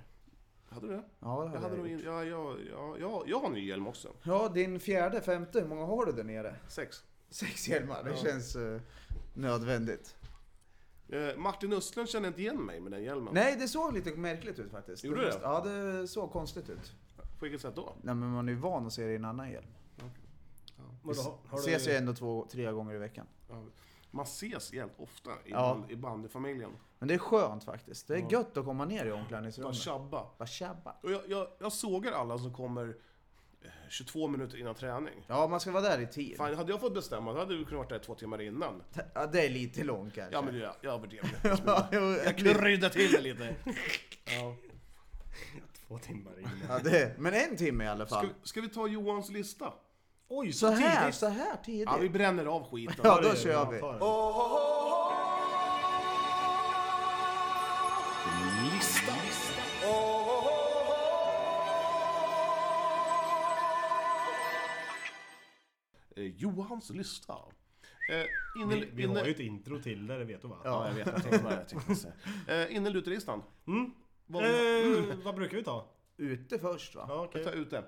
E: Hade du det?
G: Ja,
E: Jag,
G: det
E: hade
G: hade jag
E: nog
G: gjort.
E: in, ja, ja, ja, ja, jag har ny hjälm också.
G: Ja, din fjärde, femte, hur många har du där nere?
E: Sex.
G: Sex hjälmar, det känns eh, nödvändigt.
E: Eh, Martin Östlund känner inte igen mig med den hjälmen.
G: Nej, det såg lite märkligt ut faktiskt.
E: Gjorde det?
G: Ja, det såg konstigt ut.
E: På vilket sätt då?
G: Nej, men man är ju van att se det i en annan hjälm.
D: Vadå, har du...
G: Ses ju ändå två, tre gånger i veckan.
E: Ja, Man ses jävligt ofta i,
G: Ja.
E: band, i bandyfamiljen.
G: Men det är skönt faktiskt. Det är gött att komma ner i
E: Bara
G: omklädningsrummet.
E: tjabba.
G: Bara tjabba.
E: Och jag, jag, jag sågar alla som kommer eh, 22 minuter innan träning.
G: Ja, man ska vara där i tid.
E: Fan, hade jag fått bestämma då hade du kunnat vara där två timmar innan.
G: Ja, det är lite långt kanske.
E: Ja men jag, jag överdrev lite.
G: [LAUGHS] Ja, jo,
E: Jag kryddade till det lite.
D: Två
E: [LAUGHS]
D: timmar in.
G: ja, det, men en timme i alla
E: Ska,
G: fall.
E: ska vi ta Johans lista?
D: Oj,
G: Så här, så här tidigt.
E: Ja, vi bränner av skiten.
G: Ja, då kör vi.
E: Eh, Johans lista. Eh, inne,
D: Vi, vi har
E: inne,
D: ju ett intro till det, det vet du va?
E: [LAUGHS] Ja, jag vet. Jag tänkte bara, jag tänkte säga. Eh, Innelutelistan. Vad vill
D: Eh, [LAUGHS] vad brukar vi ta?
G: Ute först va?
D: Ja,
E: jag
D: okej.
E: ta ut det?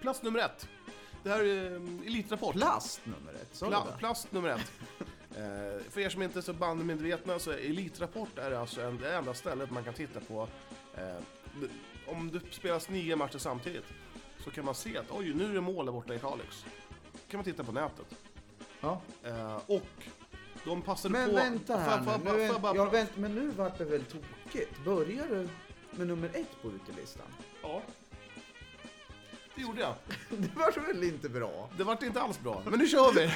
E: Plats nummer ett. Det här är eh, Elitrapport.
G: Plast nummer ett. Så
E: Pla- plast nummer ett. Eh, för er som inte är så bandmedvetna så är Elitrapport är alltså en, det enda stället man kan titta på. Eh, d- om det spelas nio matcher samtidigt så kan man se att oj, nu är det mål där borta i Kalix. kan man titta på nätet.
G: ja.
E: Eh, och de passade
G: Men
E: på...
G: vänta här
E: Fan, fan,
G: nu.
E: fan,
G: nu
E: fan, fan,
G: är, jag
E: fan.
G: vänt, men nu vart det väl tokigt? Börjar du med nummer ett på utelistan? [LAUGHS]
E: Ja. Det gjorde jag.
G: Det vart väl inte bra?
E: Det vart inte alls bra, men nu kör
D: [LAUGHS]
E: vi!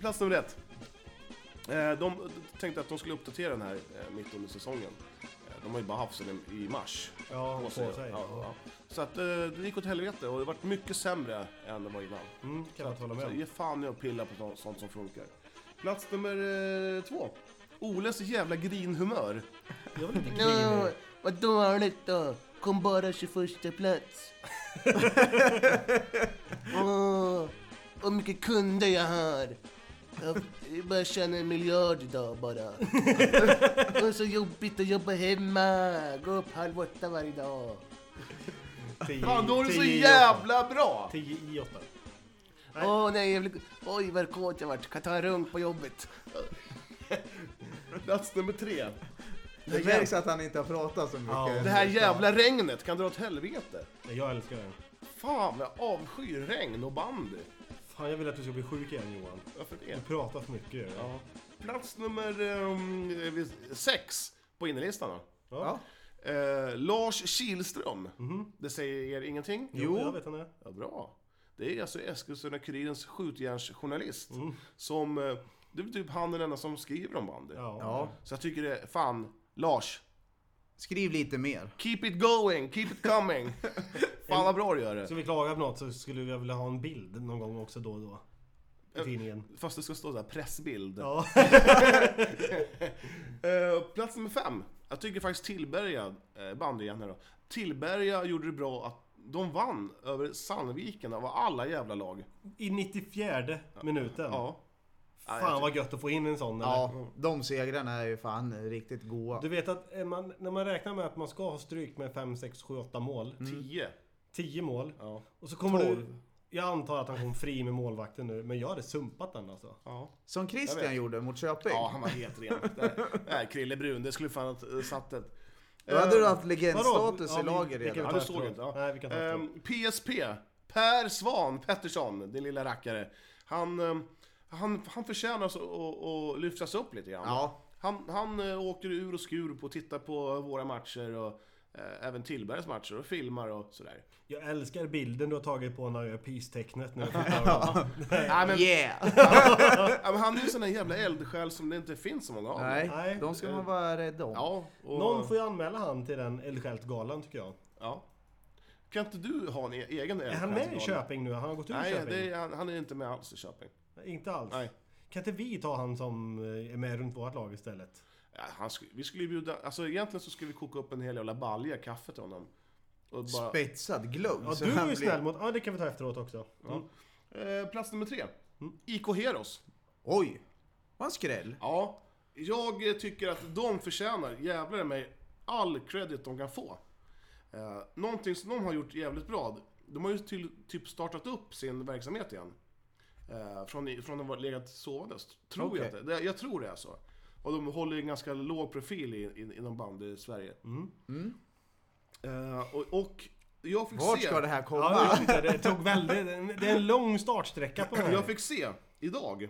E: Plats nummer ett. Eh, De tänkte att de skulle uppdatera den här eh, mitt under säsongen. Eh, De har ju bara haft den i mars.
D: Ja, på
E: Ja,
D: sig.
E: ja. Så att eh, det gick åt helvete och det vart mycket sämre än det var innan.
D: Mm, kan jag hålla med
E: Så [LAUGHS]
D: om.
E: ge fan i att pilla på sånt- sånt som funkar. Plats nummer eh, två. Oles jävla grinhumör.
D: Jag vill inte
B: Nå,
D: grina.
B: vad dåligt då. Kom bara
E: [LAUGHS]
B: 21 plats. Åh, vad mycket kunder jag har. Jag jag bara tjänar en miljard idag
E: [LAUGHS]
B: bara. Och så jobbigt att jobba hemma. Gå upp halv åtta varje dag.
D: Tio-
E: Fan, då är det så
D: tio i
E: jävla bra!
D: åtta. Tio i åtta.
B: Åh nej, jag vill... Oj vad kåt jag vart. Kan ta en runk på jobbet.
E: Plats nummer tre.
G: Det märks att han inte har pratat så mycket.
D: Ja.
E: Det här jävla regnet kan dra åt helvete.
D: Nej, Jag älskar den.
E: Fan, jag avskyr regn och bandy.
D: Fan, jag vill att du ska bli sjuk igen Johan.
E: Varför det?
D: Du pratar för mycket. Ja.
E: Ja. Plats nummer ehm, är vi- sex på innerlistan då.
D: Ja.
E: Eh, Lars Kihlström. Det säger er ingenting?
D: Jag vet han är.
E: Ja, bra. Det är alltså Eskilstuna-Kurirens skjutjärnsjournalist. Som, eh, det är typ han är den enda som skriver om bandy.
D: Ja.
G: Ja.
E: Så jag tycker det, är- fan, Lars.
G: Skriv lite mer.
E: Keep it going, keep it coming. fan vad bra du gör det.
D: Ska vi klaga på något så skulle jag vilja ha en bild någon gång också då och då. I tidningen.
E: Fast det ska stå så här pressbild.
D: Ja.
E: [LAUGHS] Eh, plats nummer fem. Jag tycker faktiskt Tillberga, eh, bandy igen här då. Tillberga gjorde det bra att de vann över Sandviken av alla jävla lag.
D: I 94 minuten.
E: Ja.
D: Fan vad gött att få in en sån. eller?
G: Ja, de segrarna är ju fan riktigt goa.
D: Du vet att eh, man, när man räknar med att man ska ha stryk med 5, 6, 7, 8 mål.
E: 10.
D: 10 mål.
E: Mm. Ja.
D: Och så kommer du...
G: Tolv.
D: Jag antar att han kom fri med målvakten nu, men jag hade sumpat den alltså.
E: Ja.
G: Som
E: Jag
G: Christian
E: vet.
G: gjorde mot Köping.
E: ja, han var helt ren. Det här Krille Brun, det skulle fan ha satt ett...
G: Då hade du haft
D: Vadå?
G: legendstatus
D: Ja,
G: i
D: vi-
G: laget
D: vi kan
G: redan.
E: Ja,
D: ta
E: du såg
D: efteråt.
E: inte. Ja.
D: Nej, vi kan ta
E: Ehm,
D: efteråt.
E: PSP, Per Svan Pettersson, din lilla rackare. Han, ehm, han, han förtjänar att, att, att lyftas upp lite grann.
G: Ja.
E: Han, han eh, åker ur och skur på att titta på våra matcher och eh, även Tillbergs matcher och filmar och
D: [LAUGHS]
E: sådär.
D: Jag älskar bilden du har tagit på när jag gör
E: [LAUGHS]
D: peace-tecknet. när jag förklarar honom.
E: Nej, men,
G: Yeah!
E: ja, men han är ju en sån där jävla eldsjäl som det inte finns så många av.
G: Nej,
D: Nej.
G: de ska man vara rädd om.
E: Ja, och,
D: Någon får ju anmäla han till den eldsjälsgalan tycker jag.
E: ja. Kan inte du ha en e- egen
D: Är han med i Köping nu? Han har gått ur
E: Nej,
D: Köping?
E: det är, han, han är inte med alls i Köping.
D: Inte alls?
E: Nej.
D: Kan inte vi ta han som eh, är med runt vårt lag istället?
E: Ja, han sk- vi skulle ju bjuda, alltså egentligen så skulle vi koka upp en hel jävla balja kaffe till honom. Och bara,
G: Spetsad glögg.
D: Ja,
G: så
D: du
G: han
D: är ju
G: blir-
D: snäll mot... Ja, det kan vi ta efteråt också. Mm.
E: eh, plats nummer tre. Mm. IK Heroes.
G: Oj! Vad en skräll.
E: Ja, jag eh, tycker att de förtjänar, jävlar i mig, all credit de kan få. Eh, någonting som de har gjort jävligt bra, de har ju till, typ startat upp sin verksamhet igen. Eh, från, från de var legat sågandes, tror
G: Okej.
E: jag inte. Det, jag tror det är så. Och de håller ju en ganska låg profil i, i, inom bandy i Sverige.
G: Mm.
E: Mm. Eh, och, och jag fick
G: Vart
E: se...
G: ska det här komma?
D: Ja, jag
G: [LAUGHS]
D: vet inte, det tog väldigt... Det är en lång startsträcka på den här.
E: Jag fick se, idag,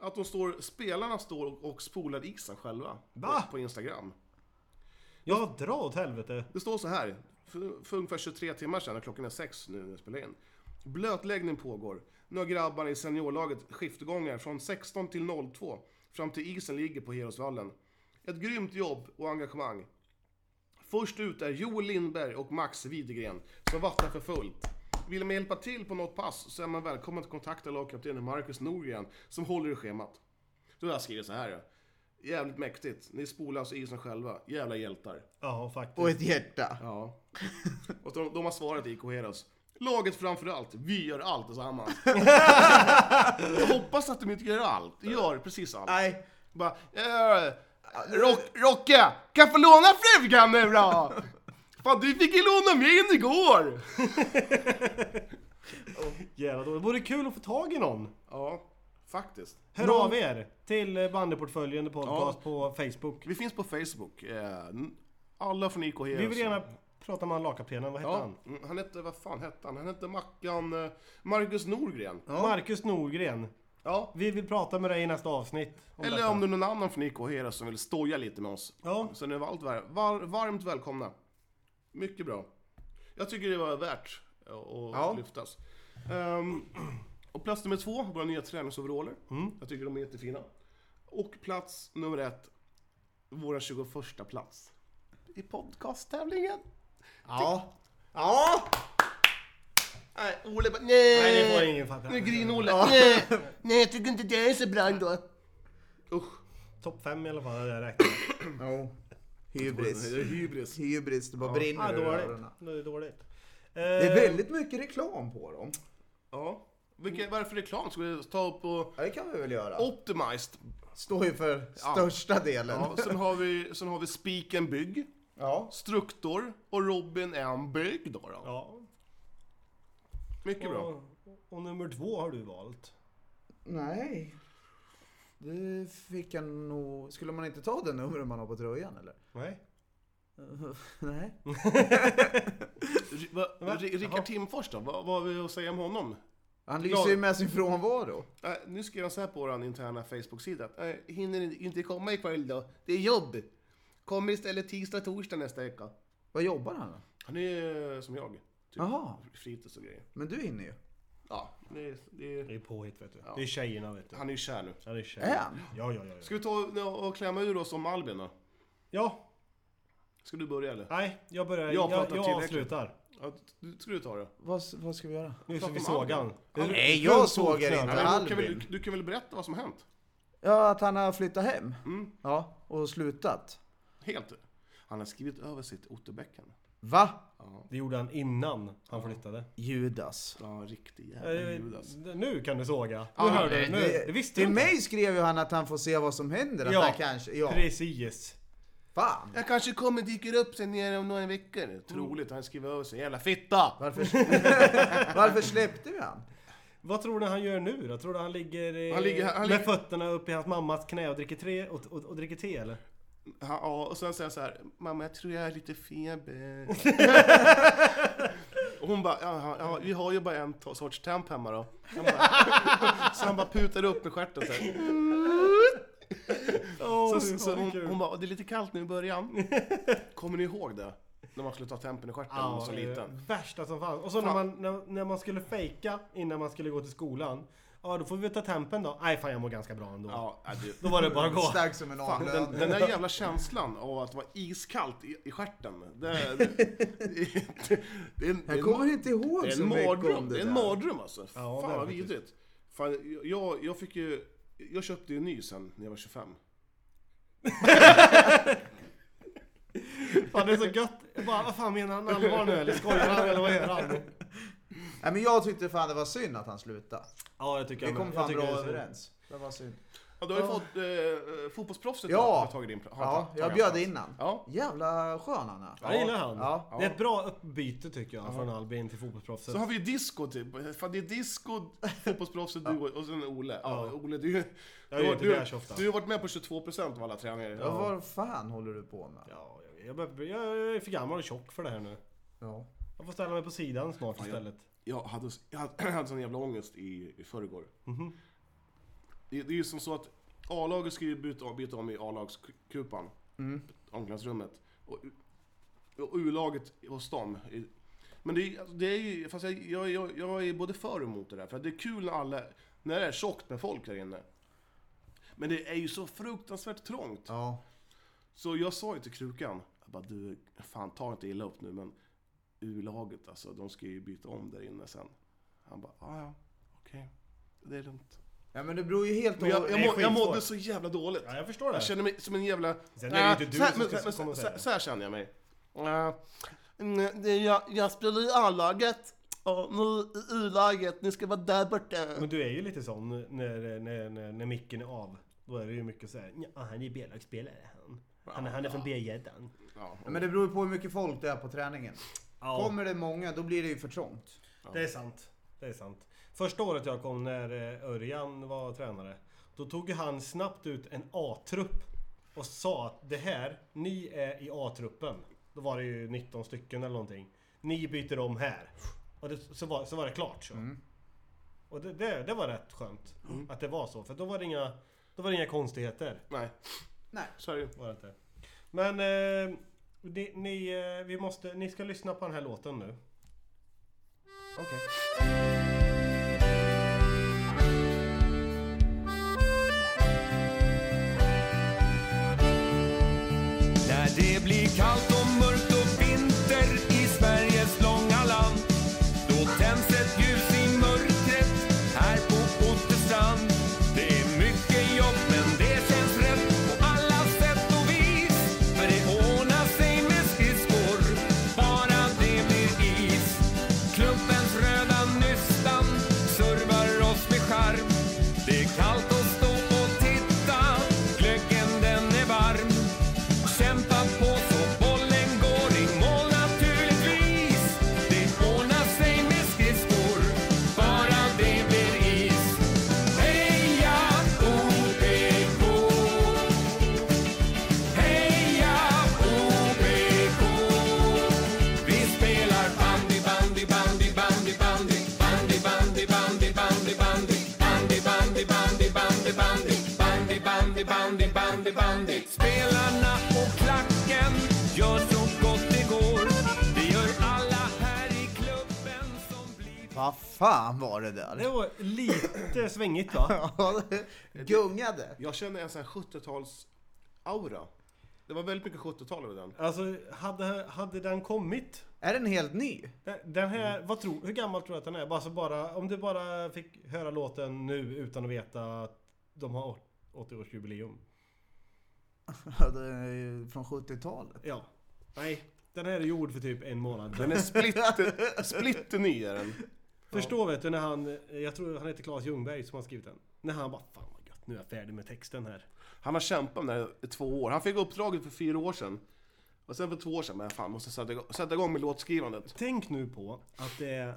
E: att de står, spelarna står och, och spolar isen själva.
D: Va?
E: På, på Instagram.
D: Ja, dra åt helvete.
E: Det står så här, för, för ungefär 23 timmar sedan, och klockan är sex nu när jag spelar in. Blötläggning pågår. Nu har grabbarna i seniorlaget skiftgångar från 16 till 02, fram till isen ligger på Herosvallen. Ett grymt jobb och engagemang. Först ut är Joel Lindberg och Max Widegren, som vattnar för fullt. Vill man hjälpa till på något pass så är man välkommen att kontakta lagkaptenen Marcus Norgren, som håller i schemat. Då har jag skrivit så här. Jävligt mäktigt. Ni spolar alltså isen själva. Jävla hjältar.
D: Ja, faktiskt.
G: Och ett hjärta.
E: Ja. Och de, de har svarat i Coheros. Laget framför allt, vi gör allt
D: [LAUGHS]
E: tillsammans. Jag hoppas att de inte gör allt, gör precis allt.
G: Nej.
E: Bara, eh, rock, Rocka, kan jag få låna frugan nu då? Fan du fick ju låna min igår!
D: Jävla dåligt. Det vore kul att få tag i någon.
E: Ja, faktiskt.
D: Hör
E: Någon-
D: av er till eh, Bandyportföljen podcast
E: Ja.
D: på Facebook.
E: Vi finns på Facebook. eh, n- Alla från IK Heroes.
D: Vi vill gärna prata med han lagkaptenen, vad hette
E: Ja,
D: han?
E: mm, han hette, vad fan hette han? Han hette Mackan eh, Marcus Norgren.
D: Marcus Norgren.
E: Ja.
D: Vi vill prata med dig i nästa avsnitt.
E: Eller
D: detta.
E: om det är någon annan från IK Hera som vill stoja lite med oss.
D: Ja.
E: Så ni är allt var, var, varmt välkomna. Mycket bra. Jag tycker det var värt att
G: Ja.
E: lyftas. Ehm, och plats nummer två, våra nya träningsoveraller. Jag tycker de är jättefina. Och plats nummer ett, våra 21 plats. I podcasttävlingen.
G: Ja. Ja!
E: Nej, Ole bara, nej!
D: Nej, det får ingen fatta.
E: Nu är Grin-Olle.
B: Nej, nej, jag tycker inte det är så bra ändå.
E: Usch.
D: Topp fem i alla fall, hade jag räknat.
G: Jo. Hybris.
E: Det är hybris.
G: Hybris, det bara brinner
D: Ah,
G: ur
D: dåligt.
G: öronen.
D: Det är dåligt.
G: Det är väldigt mycket reklam på dem.
E: Ja. Vilka, vad är det för reklam? Ska vi ta upp och...
G: Ja, det kan vi väl göra.
E: Optimized.
G: Står ju för största delen.
E: Ja, sen har vi, sen har vi Speak and Bygg.
G: Ja.
E: Struktor och Robin är en bygg då. då.
D: Ja.
E: Mycket bra.
D: Och, och nummer två har du valt.
G: [LAUGHS] Nej. Det fick jag nog... Skulle man inte ta det numret man har på tröjan eller? [LAUGHS]
D: Nej.
G: Nej.
E: R- va- R- Rickard Timfors då, vad, vad har vi att säga om honom?
G: Han lyser ju
E: Klar.
G: med sin frånvaro.
E: Nej, nu skrev han så här på vår interna Facebook-sida. att, "Nej, Hinner ni inte komma ikväll då? Det är jobb. Kommer istället tisdag, torsdag nästa vecka.
G: Vad jobbar han då?
E: Han är eh, som jag. Typ.
G: Jaha,
E: Fritids och grejer.
G: men du hinner ju.
E: Ja, det är, det är...
D: Det är påhitt vet du. Det är tjejerna vet du.
E: Han är ju kär nu.
D: Ja, det är
G: Är
D: tjejerna.
G: han?
D: Ja, ja, ja. ja.
E: Ska vi ta och- och klämma ur oss om Albin då?
D: Ja,
E: Ska du börja eller?
D: nej, jag börjar.
E: Jag
D: Jag,
E: pratar
D: jag,
E: tillräckligt.
D: avslutar.
E: Ja, du- ska du ta det?
G: Vad, vad ska vi göra?
D: Nu ska
E: Prata
D: vi
E: om
D: såga
E: Albin.
D: han.
G: Nej, jag sågar
E: Nej,
G: inte.
E: men du, kan väl,
G: Albin.
E: du, du kan väl berätta vad som hänt?
G: Ja, att han har flyttat hem.
E: Mm.
G: Ja, och slutat.
E: Helt. Han har skrivit över sitt Otterbäcken.
G: Va?
D: Det gjorde han innan han flyttade.
G: Judas.
E: Ja, riktig jävla alltså.
D: Eh,
E: Judas.
D: Nu kan du såga. Nu
G: Ja,
D: hörde du.
G: det-
D: Nu, det visste du
G: Till
D: inte.
G: mig skrev ju han att han får se vad som händer. Att
D: Ja.
G: han kanske... Ja,
D: Precis.
G: fan.
E: Jag kanske kommer dyker upp sen nere om några veckor. Troligt, han skriver över sig. Jävla fitta!
G: Varför, varför släppte vi han?
D: Vad tror du han gör nu då? Tror du han ligger, eh,
E: Han ligger- han
D: med
E: ligger-
D: fötterna upp i hans mammas knä och dricker, tre, och, och, och dricker te eller?
E: Han, ja, och sen säger han så här. Mamma, jag tror jag har lite [LAUGHS] feber. och hon bara, ja, ja, ja, vi har ju bara en to- sorts temp hemma då. Han [LAUGHS] bara, så han bara putar upp med stjärten så [LAUGHS] här.
D: Åh,
E: Så, så hon, hon bara, det är lite kallt nu i [LAUGHS] början. Kommer ni ihåg det? När man skulle ta tempen i stjärten när man var så liten.
D: eh, Värsta som fanns. Och så när man, när, när man skulle fejka innan man skulle gå till skolan. Ja, då får vi ta tempen då. Nej, fan jag mår ganska bra ändå.
E: Ja, ja, det,
D: Då var det bara att gå.
G: Stark som en
E: Fan, den,
G: avlöning.
E: den där jävla känslan av att vara iskallt i, i stjärten. Det, det, det, det är en, det är
G: Jag
E: en-
G: kommer inte ihåg
E: det är
G: så
E: en
G: mycket
E: mardröm.
G: om det,
E: Det är en
G: där.
E: mardröm alltså.
D: Ja,
E: Fan
D: det är
E: vad
D: det faktiskt.
E: vidrigt. Fan, jag, jag fick ju... Jag köpte ju en ny sen när jag var 25.
D: [LAUGHS] Fan det är så gött. Jag Bara, vad fan menar han allvar nu eller skojar han eller vad gör han?
G: Nej, men jag tyckte fan det var synd att han slutade.
D: Ja, jag tycker
G: Vi
D: han-
G: kom
D: jag
G: fan
D: tycker
G: bra
D: det är så-
G: överens. Det var synd.
E: Ja, du har ju fått eh, fotbollsproffset
G: Ja.
E: då, har tagit din pla- har
G: Ja,
E: tagit
G: jag
E: hans
G: bjöd
E: plats.
G: in han.
E: Ja.
G: Jävla skön han är.
D: Jag gillar han.
G: Ja.
D: Det är ett bra uppbyte tycker jag från Albin till fotbollsproffset.
E: Så har vi ju disco typ. Fan det är disco, fotbollsproffset, du och, och sen Ole. Ja, Ole du, du,
D: Jag är ju
E: har-
D: inte
E: du,
D: där så ofta.
E: du har varit med på 22% av alla träningar.
G: Ja, vad fan håller du på med?
D: Ja, jag, jag, behöver- jag är för gammal och tjock för det här nu.
G: Ja.
D: Jag får ställa mig på sidan snart istället.
E: Jag hade, jag hade, [CLEARS THROAT] jag hade sån jävla ångest i, i förrgår. Det, det är ju som så att A-laget ska ju byta, om- byta om i A-lagskupan. Omklädningsrummet. Och, och U-laget hos dem. i- Men det, är- alltså, det är ju, fast jag, jag, jag, jag är både för och emot det där. För att det är kul när alla, när det är tjockt med folk där inne. Men det är ju så fruktansvärt trångt.
G: Ja.
E: Så jag sa ju till Krukan, jag bara, du, fan ta inte illa upp nu men U-laget alltså, de ska ju byta om där inne sen. Han bara, "Ah, ja ja, okej, det är lugnt.
G: Ja men det beror ju helt
E: Men jag, jag,
D: det är
E: må, jag
D: skitsvårt.
E: mådde så jävla dåligt.
D: Ja, jag förstår
E: Jag
D: det.
E: känner mig som en jävla...
D: Sen är det ju
E: Ah,
D: inte du
E: så här-
D: som
E: men-
D: ska
E: men-
D: komma och
E: så-
D: säga det.
E: Så här känner jag mig. Ah, mm, det är jag, jag spelar i A-laget och ni i U-laget, ni ska vara där borta.
D: Men du är ju lite sån när, när, när, när micken är av. Då är det ju mycket såhär, ja han är B-lagsspelare han. Han, är- han är från B-gäddan.
E: Ja,
G: Ja, men det beror ju på hur mycket folk det är på träningen.
D: Ja.
G: Kommer det många, då blir det ju för trångt.
D: Det är sant. Det är sant. Första året jag kom när eh, Örjan var tränare. Då tog ju han snabbt ut en A-trupp. Och sa att det här, ni är i A-truppen. Då var det ju 19 stycken eller någonting. Ni byter om här. Och det, så, var, så var det klart så. Och det, det, det var rätt skönt. Att det var så. För då var det inga, då var det inga konstigheter.
E: nej.
G: Nej.
E: Så är det ju.
D: Var det inte. Men eh, det, ni, eh, vi måste, ni ska lyssna på den här låten nu.
G: Okej.
F: När det blir kallt och mörkt och vinter i Sveriges långa land Då tänds ett ljus i mörkret här på Otterstrand Det är mycket jobb men det känns rätt på alla sätt och vis För det ordnar sig med skridskor, bara det blir is Klubbens röda nystan servar oss med charm Det är kallt att stå och titta, glöggen den är varm Kämpa på så bollen
G: fan var det där?
D: Det var
E: [CLEARS THROAT]
D: lite svängigt va?
G: Ja, det gungade.
E: Jag känner en sån här 70-tals-aura. Det var väldigt mycket 70-tal över den.
D: Alltså, hade, hade den kommit?
G: Är den helt ny?
D: Den- Den här,
E: Mm.
D: vad tror, hur gammal tror du att den är? Alltså bara, om du bara fick höra låten nu utan att veta att de har 80-årsjubileum.
G: Ja, den är ju från 70-talet.
D: Ja. Nej, den här är gjord för typ en månad sedan.
E: Den är [LAUGHS]
D: [LAUGHS]
E: splitter, splitterny är den.
D: Förstå vet du när han, jag tror han heter Claes Ljungberg som har skrivit den. När han bara Fan vad gött, nu är jag färdig med texten här.
E: Han har kämpat med det här i två år. Han fick uppdraget för fyra år sedan. Och sen för två år sedan, men fan måste sätta igång, sätta igång med låtskrivandet.
D: Tänk nu på att det är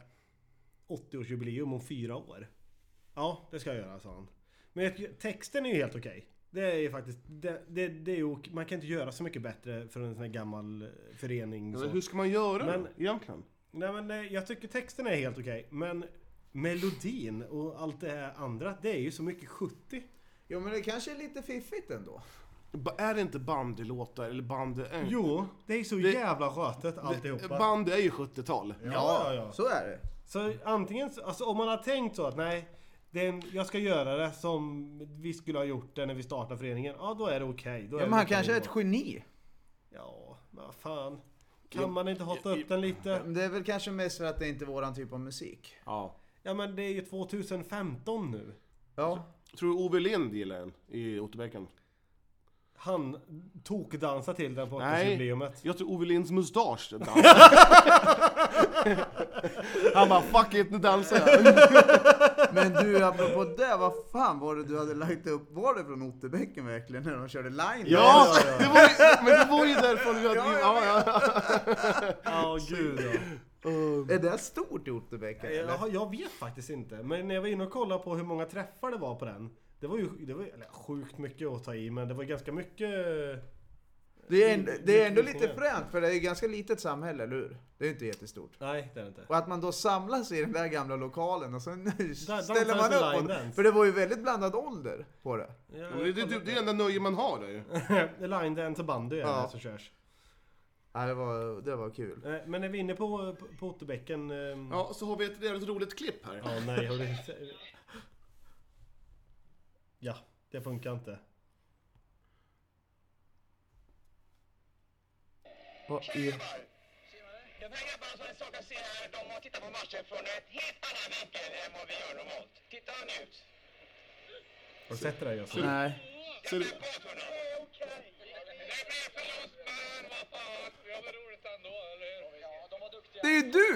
D: 80-årsjubileum om fyra år. Ja, det ska jag göra, sa han. Men jag- texten är ju helt okej. Det är ju faktiskt, det, det, det är ju, man kan inte göra så mycket bättre för en sån här gammal eh, förening. Så.
E: Hur ska man göra
D: Men-
E: men... egentligen?
D: Nej men eh, jag tycker texten är helt okej, men melodin och allt det här andra, det är ju så mycket 70.
G: Jo, men det kanske är lite fiffigt ändå.
E: Ba- Är det inte bandylåtar eller band... eh,
D: Jo, det är så
E: Det-
D: jävla rötet alltihopa.
E: Band är ju 70-tal.
D: Ja, ja, ja.
G: Så är det.
D: Så antingen, så- alltså om man har tänkt så att nej, det är en, jag ska göra det som vi skulle ha gjort det när vi startade föreningen. Ja, då är det okej. Då är
G: Ja,
D: det
G: men han
D: okej
G: kanske är
D: då.
G: ett geni.
D: Ja, men vad fan. Kan man inte hotta upp den lite?
G: Men Det är väl kanske mest för att det inte är våran typ av musik.
E: Ja.
D: Ja, men det är ju 2015 nu.
G: Ja.
E: Tror du Ove Lind gillar den i Otterbäcken?
D: Han tokdansar till den på
E: Nej.
D: 80-årsjubileumet.
E: Jag tror Ove Linds mustasch dansar. [LAUGHS] Han bara 'fuck it, nu dansar jag'
G: Men du, apropå det, vad fan var det du hade lagt upp? Var det från Otterbäcken verkligen, när de körde line?
E: Ja! [LAUGHS] Det var ju, men det var ju därför vi hade... Ja, ja, ja.
D: Ja, gud ja.
G: Är det stort i Otterbäcken? eller?
D: Jag, jag vet faktiskt inte. Men när jag var inne och kollade på hur många träffar det var på den. Det var ju det var, ju- eller, sjukt mycket att ta i, men det var ganska mycket
G: Det är, ändå, det är ändå lite
D: Visningar.
G: fränt, för det är ju ganska litet samhälle, eller hur? Det är ju inte jättestort.
D: Nej, det är det inte.
G: Och att man då samlas i den där gamla lokalen och sen [LAUGHS] ställer
D: dansar
G: man
D: till
G: upp.
D: line
G: Och,
D: dance.
G: för det var ju väldigt blandad ålder på det.
E: Men Det, det, det, det är det enda nöje man har där ju.
D: det är line dance och bandy är
G: Ja.
D: det som alltså, körs.
G: Ja, det var, det var kul.
D: Eh, Men när vi är inne på, på, på Otterbäcken... ehm,
E: Ja, så har vi ett jävligt roligt klipp här.
D: ja, nej. har du- Ja, det funkar inte.
G: Vad är...
I: Jag vänder bara så en sak att se här. De har tittat på matchen från ett helt annan vinkel än vad vi gör normalt. Titta nu ut.
D: Har du sett det där Jösse?
G: Nej.
E: Ser du?
I: Det blir förlust, men vad fan. Vi har väl roligt ändå, eller hur? Ja, de var duktiga.
G: Det är ju
D: [LAUGHS]
G: du!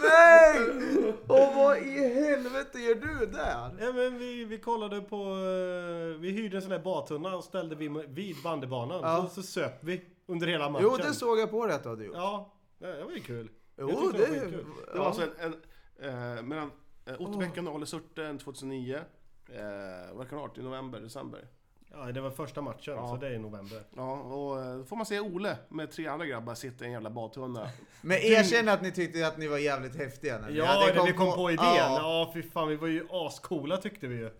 G: Nej! Och vad i helvete gör du där?
D: Ja, men vi, vi kollade på... eh, Vi hyrde en sån där badtunna och ställde vid, vid bandybanan.
G: Ja.
D: Så, så söp vi under hela matchen.
G: Jo, det såg jag på dig att du hade gjort.
D: Ja, det det var ju kul. Jag
G: Jo,
D: tyckte
G: det...
D: var skitkul.
E: Det var alltså en... en eh, mellan eh, Otterbäcken och Ale Surte 2009. Eh, vad kan det ha varit? I november, december.
D: Ja, det var första matchen, så det är i november.
E: Ja, och eh, då får man se Ole med tre andra grabbar sitta i en jävla badtunna.
G: Men erkänn att ni tyckte att ni var jävligt häftiga när ni
D: Ja,
G: hade
D: det vi kom på, idén.
G: Ja.
D: Ja, fy fan, vi var ju ascoola tyckte vi ju.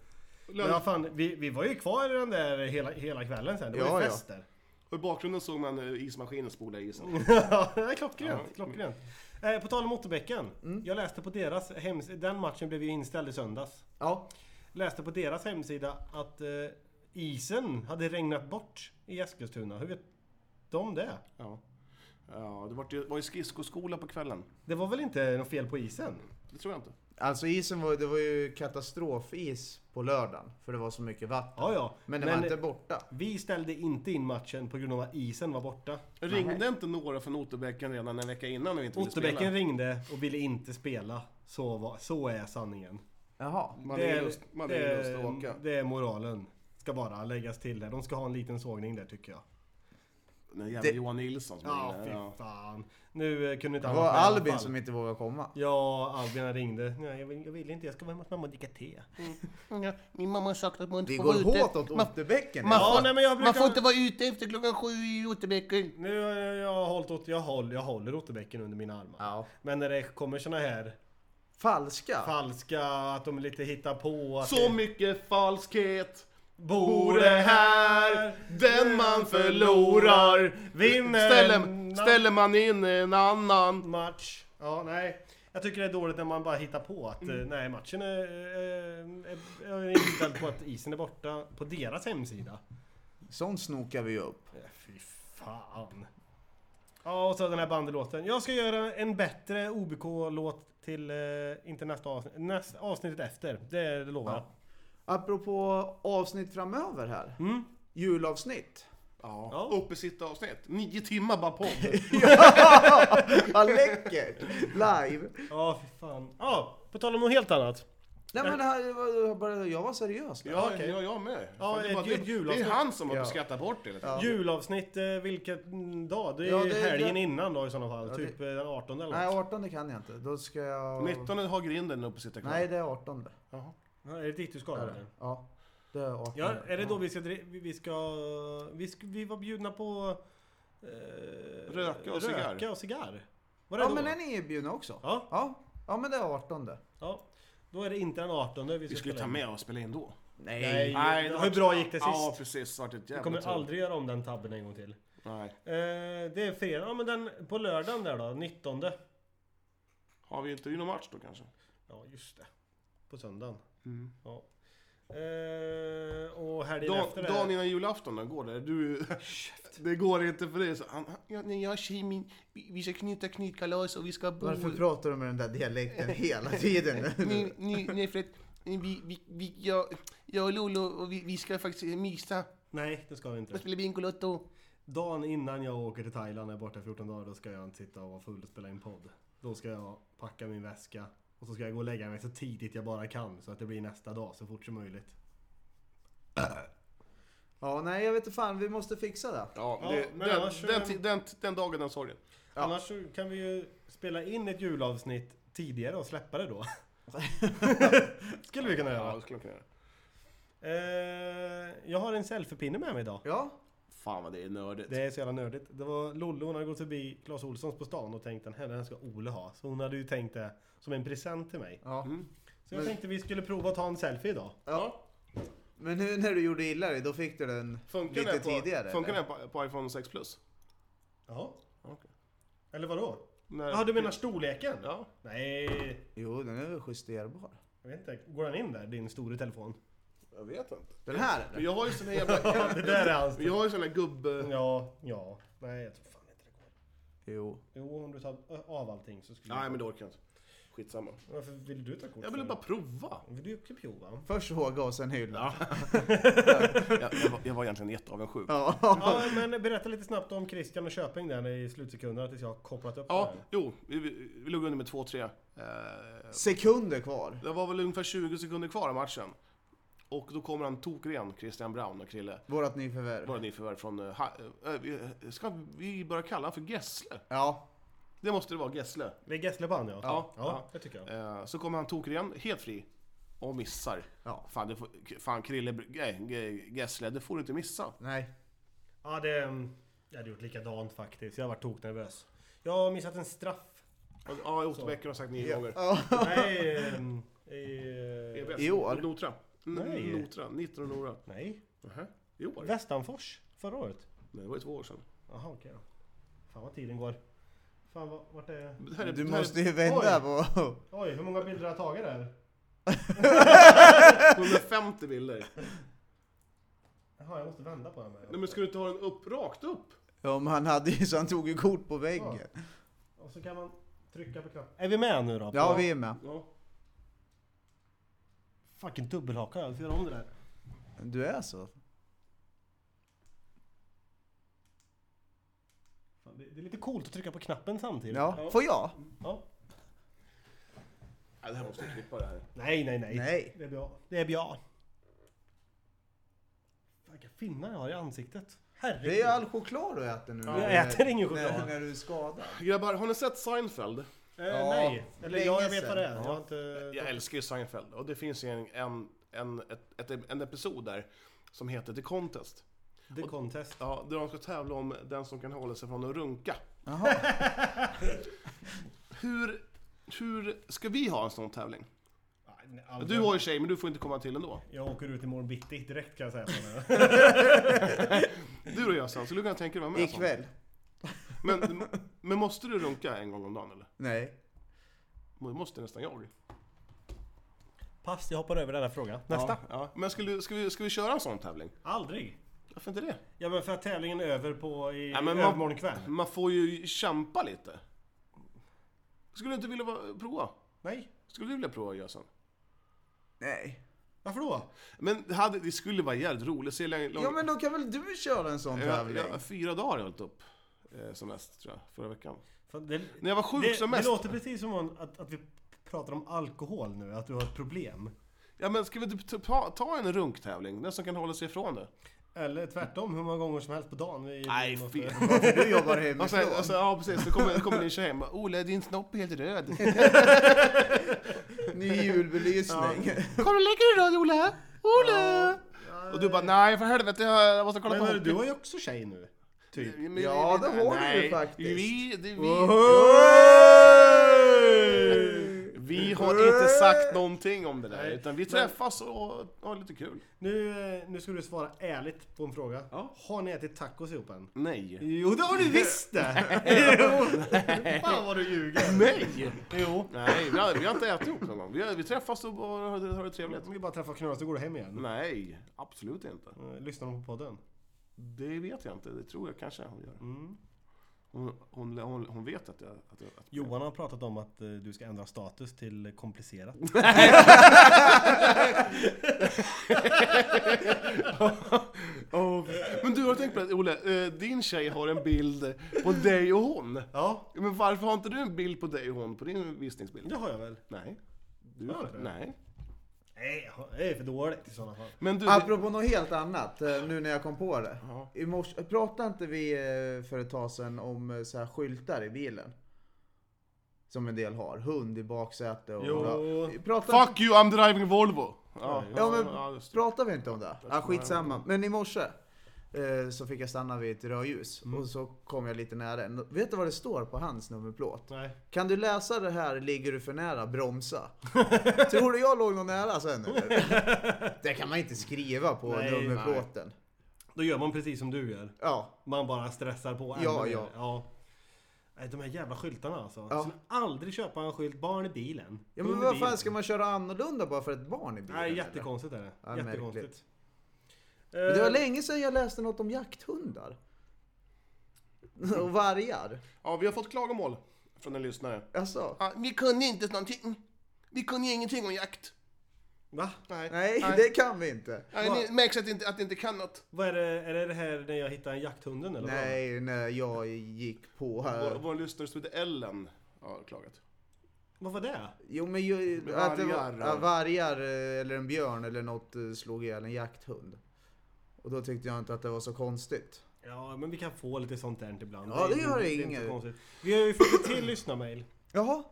D: Men ja, fan, vi, vi var ju kvar i den där hela, hela kvällen sen. Det var
G: Ja,
D: ju
G: ja.
D: fest där. [LAUGHS]
E: Och i bakgrunden såg man eh, ismaskinen spola i isen.
D: Ja, Mm. det är klockrent. klockrent. Eh, på tal om Otterbäcken. Jag läste på deras hemsida, den matchen blev ju inställd i söndags.
G: ja.
D: Läste på deras hemsida att eh, isen hade regnat bort i Eskilstuna. Hur vet de det?
E: Ja. Ja, det var ju, var ju skridskoskola på kvällen.
D: Det var väl inte något fel på isen?
E: Det tror jag inte.
G: Alltså isen var, det var ju katastrofis på lördagen för det var så mycket vatten.
D: Ja, ja.
G: Men det var inte borta.
D: vi ställde inte in matchen på grund av att isen var borta.
E: Ringde inte några från Otterbäcken redan en vecka innan och inte ville
D: Otterbäcken
E: spela?
D: ringde och ville inte spela. Så, var, så är sanningen.
G: Jaha.
E: Man
D: Det
E: ringer
D: är,
E: lust, man
D: det,
E: ringer lust att åka.
D: är, det är moralen. Ska bara läggas till där. De ska ha en liten sågning där tycker jag.
E: Den jävla
G: Det-
E: Johan Nilsson som
D: Ja,
E: ringde.
D: fy
E: Ja.
D: fan. Nu eh, kunde inte
G: Det
D: han
G: var
D: vara med i alla
G: Albin
D: fall.
G: som inte vågade komma.
D: Ja, Albin han ringde. Nej, jag vill, jag vill inte. Jag ska vara hemma hos mamma och dricka te.
B: Ja, Min mamma har sagt att man inte
G: Det
B: får vara
G: går
B: ute.
G: hårt åt
B: Man,
G: Otterbäcken.
B: man,
D: Ja,
B: får,
D: nej, men jag brukar-
B: man får inte vara ute efter klockan sju i Otterbäcken.
D: Nu har jag, jag, har hållit, åt- jag, håller, jag håller Otterbäcken under mina armar.
G: Ja.
D: Men när det kommer såna här
G: Falska.
D: falska, att de lite hittar på. Att
E: Så mycket falskhet
D: det
E: bor det här Den man förlorar
D: vinner
E: ställer,
D: en
E: ställer man in en annan
D: match. Ja, nej. Jag tycker det är dåligt när man bara hittar på att
G: Mm.
D: eh, nej, matchen är, eh, är, är inställd på att isen är borta på deras hemsida.
G: Sånt snokar vi ju upp.
D: Eh, Fy fan. Ja, och så den här bandelåten. Jag ska göra en bättre OBK-låt till, eh, inte nästa avsnitt, nästa avsnittet efter. Det lovar jag.
G: Apropå avsnitt framöver här.
D: Mm.
G: Julavsnitt.
D: Ja.
E: Uppe sitta avsnitt. Nio timmar bara
D: [LAUGHS]
E: podd.
G: Ja, läckert! Live.
D: Ja, fy fan. Ja, på tal om något helt annat.
G: Nej men det här, det var- jag bara- jag var seriös. där.
E: Ja,
D: okej.
E: ja, jag med.
D: Ja,
E: Fan, det,
D: ett
E: var, det, det
D: julavsnitt.
E: är han som har
G: Ja.
E: skattat bort det. Ja.
D: Julavsnitt, eh, vilken dag? Det är
G: Ja,
D: ju
G: det-
D: helgen
G: det-
D: innan då i sådana fall.
G: Ja, det-
D: typ eh, den 18 eller
G: Nej,
D: något.
G: 18 kan jag inte. Då ska jag...
E: 19 har grinden uppe sitta kvar.
G: Nej, det är 18.
D: Ja, Är det dit du ska?
G: Är
D: eller?
G: det. Ja, det är 18.
D: Ja, är det då vi ska... dri- Vi, vi, ska, vi, sk- vi var bjudna på... Eh,
E: Röka och cigarr.
D: Röka och cigarr. Var det
G: Ja,
D: då?
G: men den är ju bjuden också.
D: Ja.
G: Ja, ja, men det är 18.
D: ja. Då är det inte den 18 vi ska
E: Vi skulle
D: spela
E: ta
D: in.
E: med och spela in då.
D: Nej, det- hur bra gick det sist?
E: Ja, precis. Det vart ett
D: Vi
E: jävla
D: kommer
E: tur.
D: aldrig göra om den tabben en gång till.
E: Nej.
D: Eh, det är fredag. Ja, men den på lördagen där då, 19.
E: Har vi inte någon match då kanske?
D: Ja, just det. På söndagen. Ja. Eh, och helgen
E: Dan,
D: efter det...
E: dagen innan julafton då, går det? Du, det går inte för dig. Så han, han-
J: Ja, när jag tjej min, vi vi ska knyta knytkalas och vi ska bo...
G: Varför pratar du med den där dialekten hela tiden?
J: Ni, ni, nej, för att vi, vi, vi, jag, jag och Lolo och vi, vi ska faktiskt mysa
D: Nej, det ska vi inte.
J: och spela Bingolotto.
D: Dagen innan jag åker till Thailand, är borta 14 dagar, då ska jag inte sitta och vara full och spela in podd. Då ska jag packa min väska och så ska jag gå och lägga mig så tidigt jag bara kan så att det blir nästa dag så fort som möjligt.
G: Ja, nej jag vet inte fan. Vi måste fixa det.
E: ja,
D: Ja,
E: det,
D: men
E: den,
D: annars-
E: den, ti- den, den dagen, den sorgen.
D: Annars så kan vi ju spela in ett julavsnitt tidigare och släppa det då. Skulle vi kunna
E: Ja,
D: göra.
E: det skulle man kunna göra.
D: Eh, jag har en selfiepinne med mig idag.
G: Ja,
E: Fan vad det är nördigt.
D: Det är så jävla nördigt. Det var Lollo, hon hade gått förbi Clas Olssons på stan och tänkt den här, den här ska Ole ha. Så hon hade ju tänkt det som en present till mig.
G: ja.
E: Mm.
D: Så jag tänkte vi skulle prova att ta en selfie idag.
G: ja. Men nu när du gjorde illa dig, då fick du den
E: Funkar
G: lite
E: den på,
G: tidigare?
E: Funkar
G: eller?
E: den på, på iPhone 6 Plus?
D: Jaha.
E: Okej.
D: Eller vadå?
E: När-
D: Ja, du menar storleken?
E: Ja.
D: Nej,
G: Jo, den är väl justerbar?
D: jag vet inte. Går den in där, din store telefon?
E: Jag vet inte.
G: Den här eller?
E: Men jag har ju sån här [LAUGHS] jävla...
D: Det där är hans.
E: Jag har ju sån här gubb...
D: Ja, ja. Nej, jag tror fan inte det går.
G: Jo.
D: Jo, om du tar av allting så skulle
E: Nej men det orkar jag inte. Skitsamma.
D: Varför vill du ta kort?
E: Jag ville
D: för?
E: bara prova.
D: Vill du också
E: [LAUGHS]
D: prova?
G: Först såga och sen hylla.
E: Jag, jag, var, jag var egentligen jätteavundsjuk. Ja,
D: Ja, men berätta lite snabbt om Christian och Köping där i slutsekunderna tills jag har kopplat upp det
E: ja
D: här.
E: jo. Vi, vi, vi låg under med 2-3. Eh,
G: Sekunder kvar.
E: Det var väl ungefär 20 sekunder kvar av matchen. Och då kommer han tokren, Christian Brown och Krille.
G: Vårat nyförvärv.
E: Våra nyförvärv från... eh, ha- eh, vi- ska vi börja kalla honom för Gessle?
G: Ja.
E: Det måste det vara, Gessle.
D: Det är Gessle på han, ja.
E: Ja.
D: ja, det tycker jag.
E: Eh, Så kommer han tokren, helt fri. Och missar.
G: Ja.
E: Fan, du får, fan Krille... nej, Ge- Gessle, det får du inte missa.
G: Nej.
D: Ja, det... mm, Jag hade gjort likadant faktiskt. Jag har varit toknervös. Jag har missat
E: [LAUGHS]
D: en straff.
E: Och- Ja, Otterbäcken har sagt nio gånger.
D: Nej... ehm, eh,
E: EBS.
G: I år?
E: Notra. N-
D: Nej.
E: Notra. 19 Nora.
D: Nej.
E: Nähä. I år?
D: Västanfors förra året.
E: Nej, det var ju två år sedan.
D: Jaha, okej då. Fan vad tiden går. Fan vad, vart är...
E: Det här är-
G: Du
E: det här är
G: måste ju vända
D: Oj.
G: på...
D: Oj, hur många bilder har jag tagit där?
E: 150 bilder.
D: Jaha, jag måste vända på den här.
E: Nej men ska du inte ha den upp, rakt upp?
G: Ja, men han hade ju så han tog ju kort på väggen.
D: Och så kan man trycka på knappen. Är vi med nu då?
G: Ja, vi är med.
E: Ja.
D: Fucking dubbelhaka, jag får göra om det där.
G: Du är så?
D: Fan, det, det är lite coolt att trycka på knappen samtidigt.
G: Ja. Får jag?
D: Ja.
E: Nej, det här måste jag klippa det här.
D: Nej, nej, nej.
G: Nej.
D: Det är bra. Det är bra. Fan, Vilka finnar jag har i ansiktet. Herregud.
G: Det är all choklad du äter nu.
D: Jag äter ingen choklad.
G: När, när du är skadad.
E: Grabbar, har ni sett Seinfeld?
D: Eh,
G: Ja,
D: nej. Eller ja, jag
G: länge
D: vet vad det är.
G: sedan.
D: Jag har inte...
E: Jag älskar ju Seinfeld och det finns ju en, en, en, ett, ett, en episod där som heter The Contest.
D: The Contest.
E: Ja, där de ska tävla om den som kan hålla sig från att runka.
G: Jaha.
E: [LAUGHS] Hur, hur ska vi ha en sån tävling?
D: Nej, nej, aldrig.
E: Du har ju tjej, men du får inte komma till ändå.
D: Jag åker ut imorgon bitti direkt kan jag säga. så nu.
E: Du då Gösan, skulle du kunna tänka dig att vara med? i en sån?
G: Ikväll?
E: Men, men måste du runka en gång om dagen eller?
G: Nej.
E: Det måste nästan jag.
D: [LAUGHS] Pass, jag hoppar över den här frågan. Nästa.
E: Ja, ja. Men ska, du, ska, vi, ska vi köra en sån tävling?
D: Aldrig.
E: Varför inte det?
D: Ja men för att tävlingen är över på i
E: Ja, men man-
D: övermorgon kväll.
E: Man får ju kämpa lite. Skulle du inte vilja vara- prova?
D: Nej.
E: Skulle du vilja prova Gösan?
G: Nej.
D: Varför då?
E: Men det, hade, det skulle vara jävligt roligt. Se lång, lång,
G: Ja men då kan väl du köra en sån
E: jag,
G: tävling?
E: jag, fyra dagar har jag hållit upp. Eh, som mest tror jag, förra veckan.
D: Fan, det,
E: När jag var sjuk
D: det,
E: som
D: det
E: mest.
D: låter precis som om att, att vi pratar om alkohol nu, att du har ett problem.
E: Ja men ska vi inte ta, ta en runktävling? Den som kan hålla sig ifrån det.
D: Eller tvärtom, hur många gånger som helst på dagen. Vi,
E: Nej,
D: vi måste-
E: fy.
G: Varför du jobbar
E: Alltså,
G: hemifrån?
E: alltså, ja precis, då kommer, kommer din tjej hem och bara, Ola din snopp är helt
D: [LAUGHS]
E: röd.
G: Ny julbelysning.
E: Kommer du lägga dig röd Ola? Ola! Och du bara nej för helvete jag måste kolla
D: Men
E: på
D: hörru, du
E: hockey."
D: har ju också tjej nu. Typ.
E: Men-
G: Ja, det har du
E: nej,
G: ju faktiskt.
E: Vi, det,
G: Oj!
E: vi, vi har inte sagt någonting om det där utan vi träffas och har lite kul.
D: Nu, eh, nu ska du svara ärligt på en fråga. Har ni ätit tacos ihop än?
E: Nej.
D: Jo, det har du visst det! [LAUGHS] Jo. Fan vad du ljuger.
E: Nej!
D: Jo.
E: Nej, vi har, vi har inte ätit ihop någon gång. Vi, har- vi träffas och bara har, har det trevligt.
D: Om vi bara träffar knas så går du hem igen.
E: Nej, absolut inte.
D: Eh, Lyssnar de på podden?
E: Det vet jag inte. Det tror jag kanske hon gör. Hon, hon, hon, hon vet att jag... Att jag att
D: Johan har pratat om att eh, du ska ändra status till komplicerat.
E: Åh, men du har tänkt på det, Olle. eh, Din tjej har en bild på dig och hon.
D: Ja,
E: Men varför har inte du en bild på dig och hon på din visningsbild?
D: det har jag väl.
E: Nej. Du har inte det? Nej.
D: Nej, det är för dåligt i sådana fall.
E: Men du...
G: Apropå något helt annat, eh, nu när jag kom på det. I morse, pratade inte vi eh, för ett tag sedan om eh, så här skyltar i bilen? Som en del har. Hund i baksäte och...
D: Jo.
G: Pratade,
E: Fuck you, I'm driving Volvo! Ja,
G: Ja men
E: just det.
G: pratar vi inte om det? Ja, skitsamma. Men i morse eh, så fick jag stanna vid ett rödljus och så kom jag lite nära. en. Vet du vad det står på hans nummerplåt?
D: Nej.
G: Kan du läsa det här ligger du för nära, bromsa.
D: [LAUGHS]
G: Tror du jag låg någon nära sen eller?
D: [LAUGHS]
G: Det kan man inte skriva på
D: Nej,
G: nummerplåten.
D: Då gör man precis som du gör.
G: Ja,
D: Man bara stressar på. ännu
G: Ja,
D: mer.
G: ja.
D: ja. Nej, De här jävla skyltarna alltså.
G: Ja.
D: Jag skulle aldrig köpa en skylt barn i bilen.
G: ja men
D: Under
G: vad fan
D: bilen.
G: ska man köra annorlunda bara för ett barn i bilen?
D: Nej,
G: eller?
D: jättekonstigt är det.
G: Ja,
D: jättekonstigt.
G: Men det var
D: Eh,
G: länge sedan jag läste något om jakthundar.
D: Mm.
G: Och vargar.
E: Ja, vi har fått klagomål från en lyssnare.
G: Alltså,
E: Ja, vi kunde inte någonting. Vi kunde ingenting om jakt.
D: Eh, Va?
G: nej det kan vi inte.
E: Nej, det märks att det inte, att det inte kan något.
D: Vad är det? Är det det här när jag hittade jakthunden eller?
G: Nej, när jag gick på
E: Vår,
G: här.
E: vår lyssnare som heter Ellen har klagat.
D: Vad var det?
G: Jo men ju, att det var,
E: vargar.
G: ja, vargar eh, eller en björn eller något eh, slog ihjäl en jakthund. Och då tyckte jag inte att det var så konstigt.
D: Ja, men vi kan få lite sånt där ibland.
G: Ja,
D: är-
G: det gör
D: är inte
G: inget.
D: så konstigt. Vi har ju fått ett till lyssnarmail.
G: Jaha?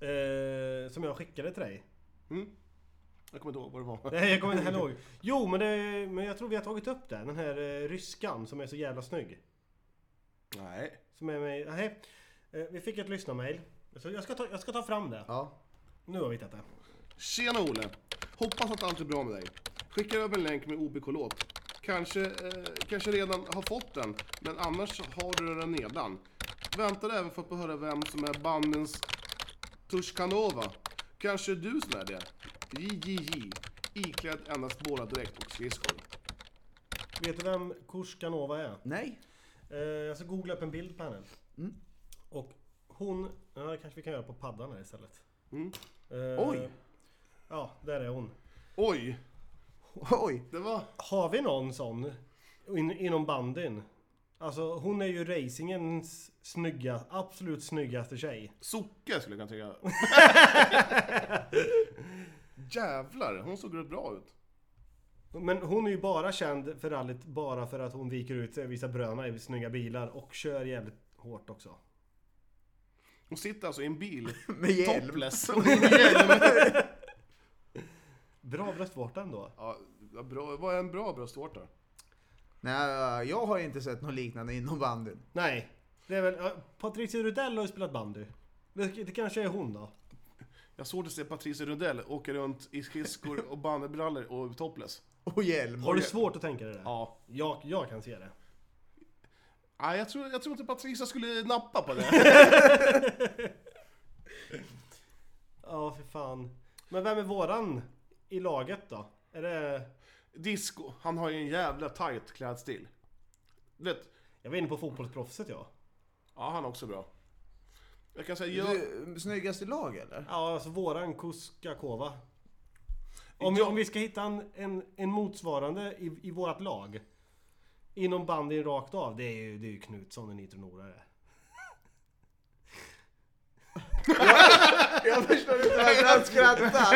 D: Eh, som jag skickade till dig.
E: Jag kommer inte ihåg vad det
D: [LAUGHS]
E: var.
D: Nej, jag kommer inte heller ihåg. Jo, men, det, men jag tror vi har tagit upp det. Den här eh, ryskan som är så jävla snygg.
E: Nej.
D: Som är med, nej, eh, vi fick ett lyssnarmail. Så jag ska, ta, jag ska ta fram det.
G: Ja.
D: Nu har vi hittat det.
E: Tjena Olle! Hoppas att allt är bra med dig. Skickar över en länk med OBK-låt. Kanske, eh, kanske redan har fått den, men annars har du den nedan. Väntar även för att få höra vem som är bandens Tushkanova. Kanske du som är det? JJJ. Iklädd endast båladräkt och skridskor.
D: Vet du vem Kurskanova är?
G: Nej?
D: Eh, jag ska googla upp en bild på henne.
G: Mm.
D: Och hon... Ja, det kanske vi kan göra på paddan här istället. Eh,
E: Oj.
D: Ja, där är hon.
E: Oj!
G: Oj!
E: Det var...
D: Har vi någon sån in, inom bandyn? Alltså hon är ju racingens snygga, absolut snyggaste tjej.
E: Socke skulle jag kunna tycka.
G: [LAUGHS]
E: Jävlar, hon såg bra ut.
D: Men hon är ju bara känd för rallyt bara för att hon viker ut sig och visar bröna i snygga bilar och kör jävligt hårt också.
E: Hon sitter alltså i en bil,
G: [LAUGHS] Med hjälm. [LAUGHS]
E: topless.
D: Bra bröstvårta ändå.
E: Ja, vad bra, vad är en bra bröstvårta?
G: Nej, eh, jag har inte sett något liknande inom bandyn.
D: Nej, det är väl... ja, Patricia Rudell har ju spelat bandy. Det, det kanske är hon då?
E: Jag såg det se Patrice Rundell åka runt i skridskor och bandybrallor och topless.
G: Och hjälm.
D: Har du svårt att tänka dig det?
E: Ja.
D: Jag, jag kan se det.
E: Nej, jag
G: [LAUGHS]
E: tror, jag tror inte Patricia skulle nappa på det.
D: Ja, för fan. Men vem är våran i laget då? Är det...
E: Disco, han har ju en jävla tight klädstil. Du vet,
D: Jag var inne på fotbollsproffset jag.
E: ja han är också bra. Jag kan säga, jag,
G: Du, snyggast i lag eller?
D: Ja, alltså våran Kuskakova. Om, om vi ska hitta en, en, en motsvarande i, i vårt lag. Inom bandyn rakt av. Det är ju, det är ju Knutsson, en nitronorare.
G: [LAUGHS] Jag förstår inte varför han skrattar.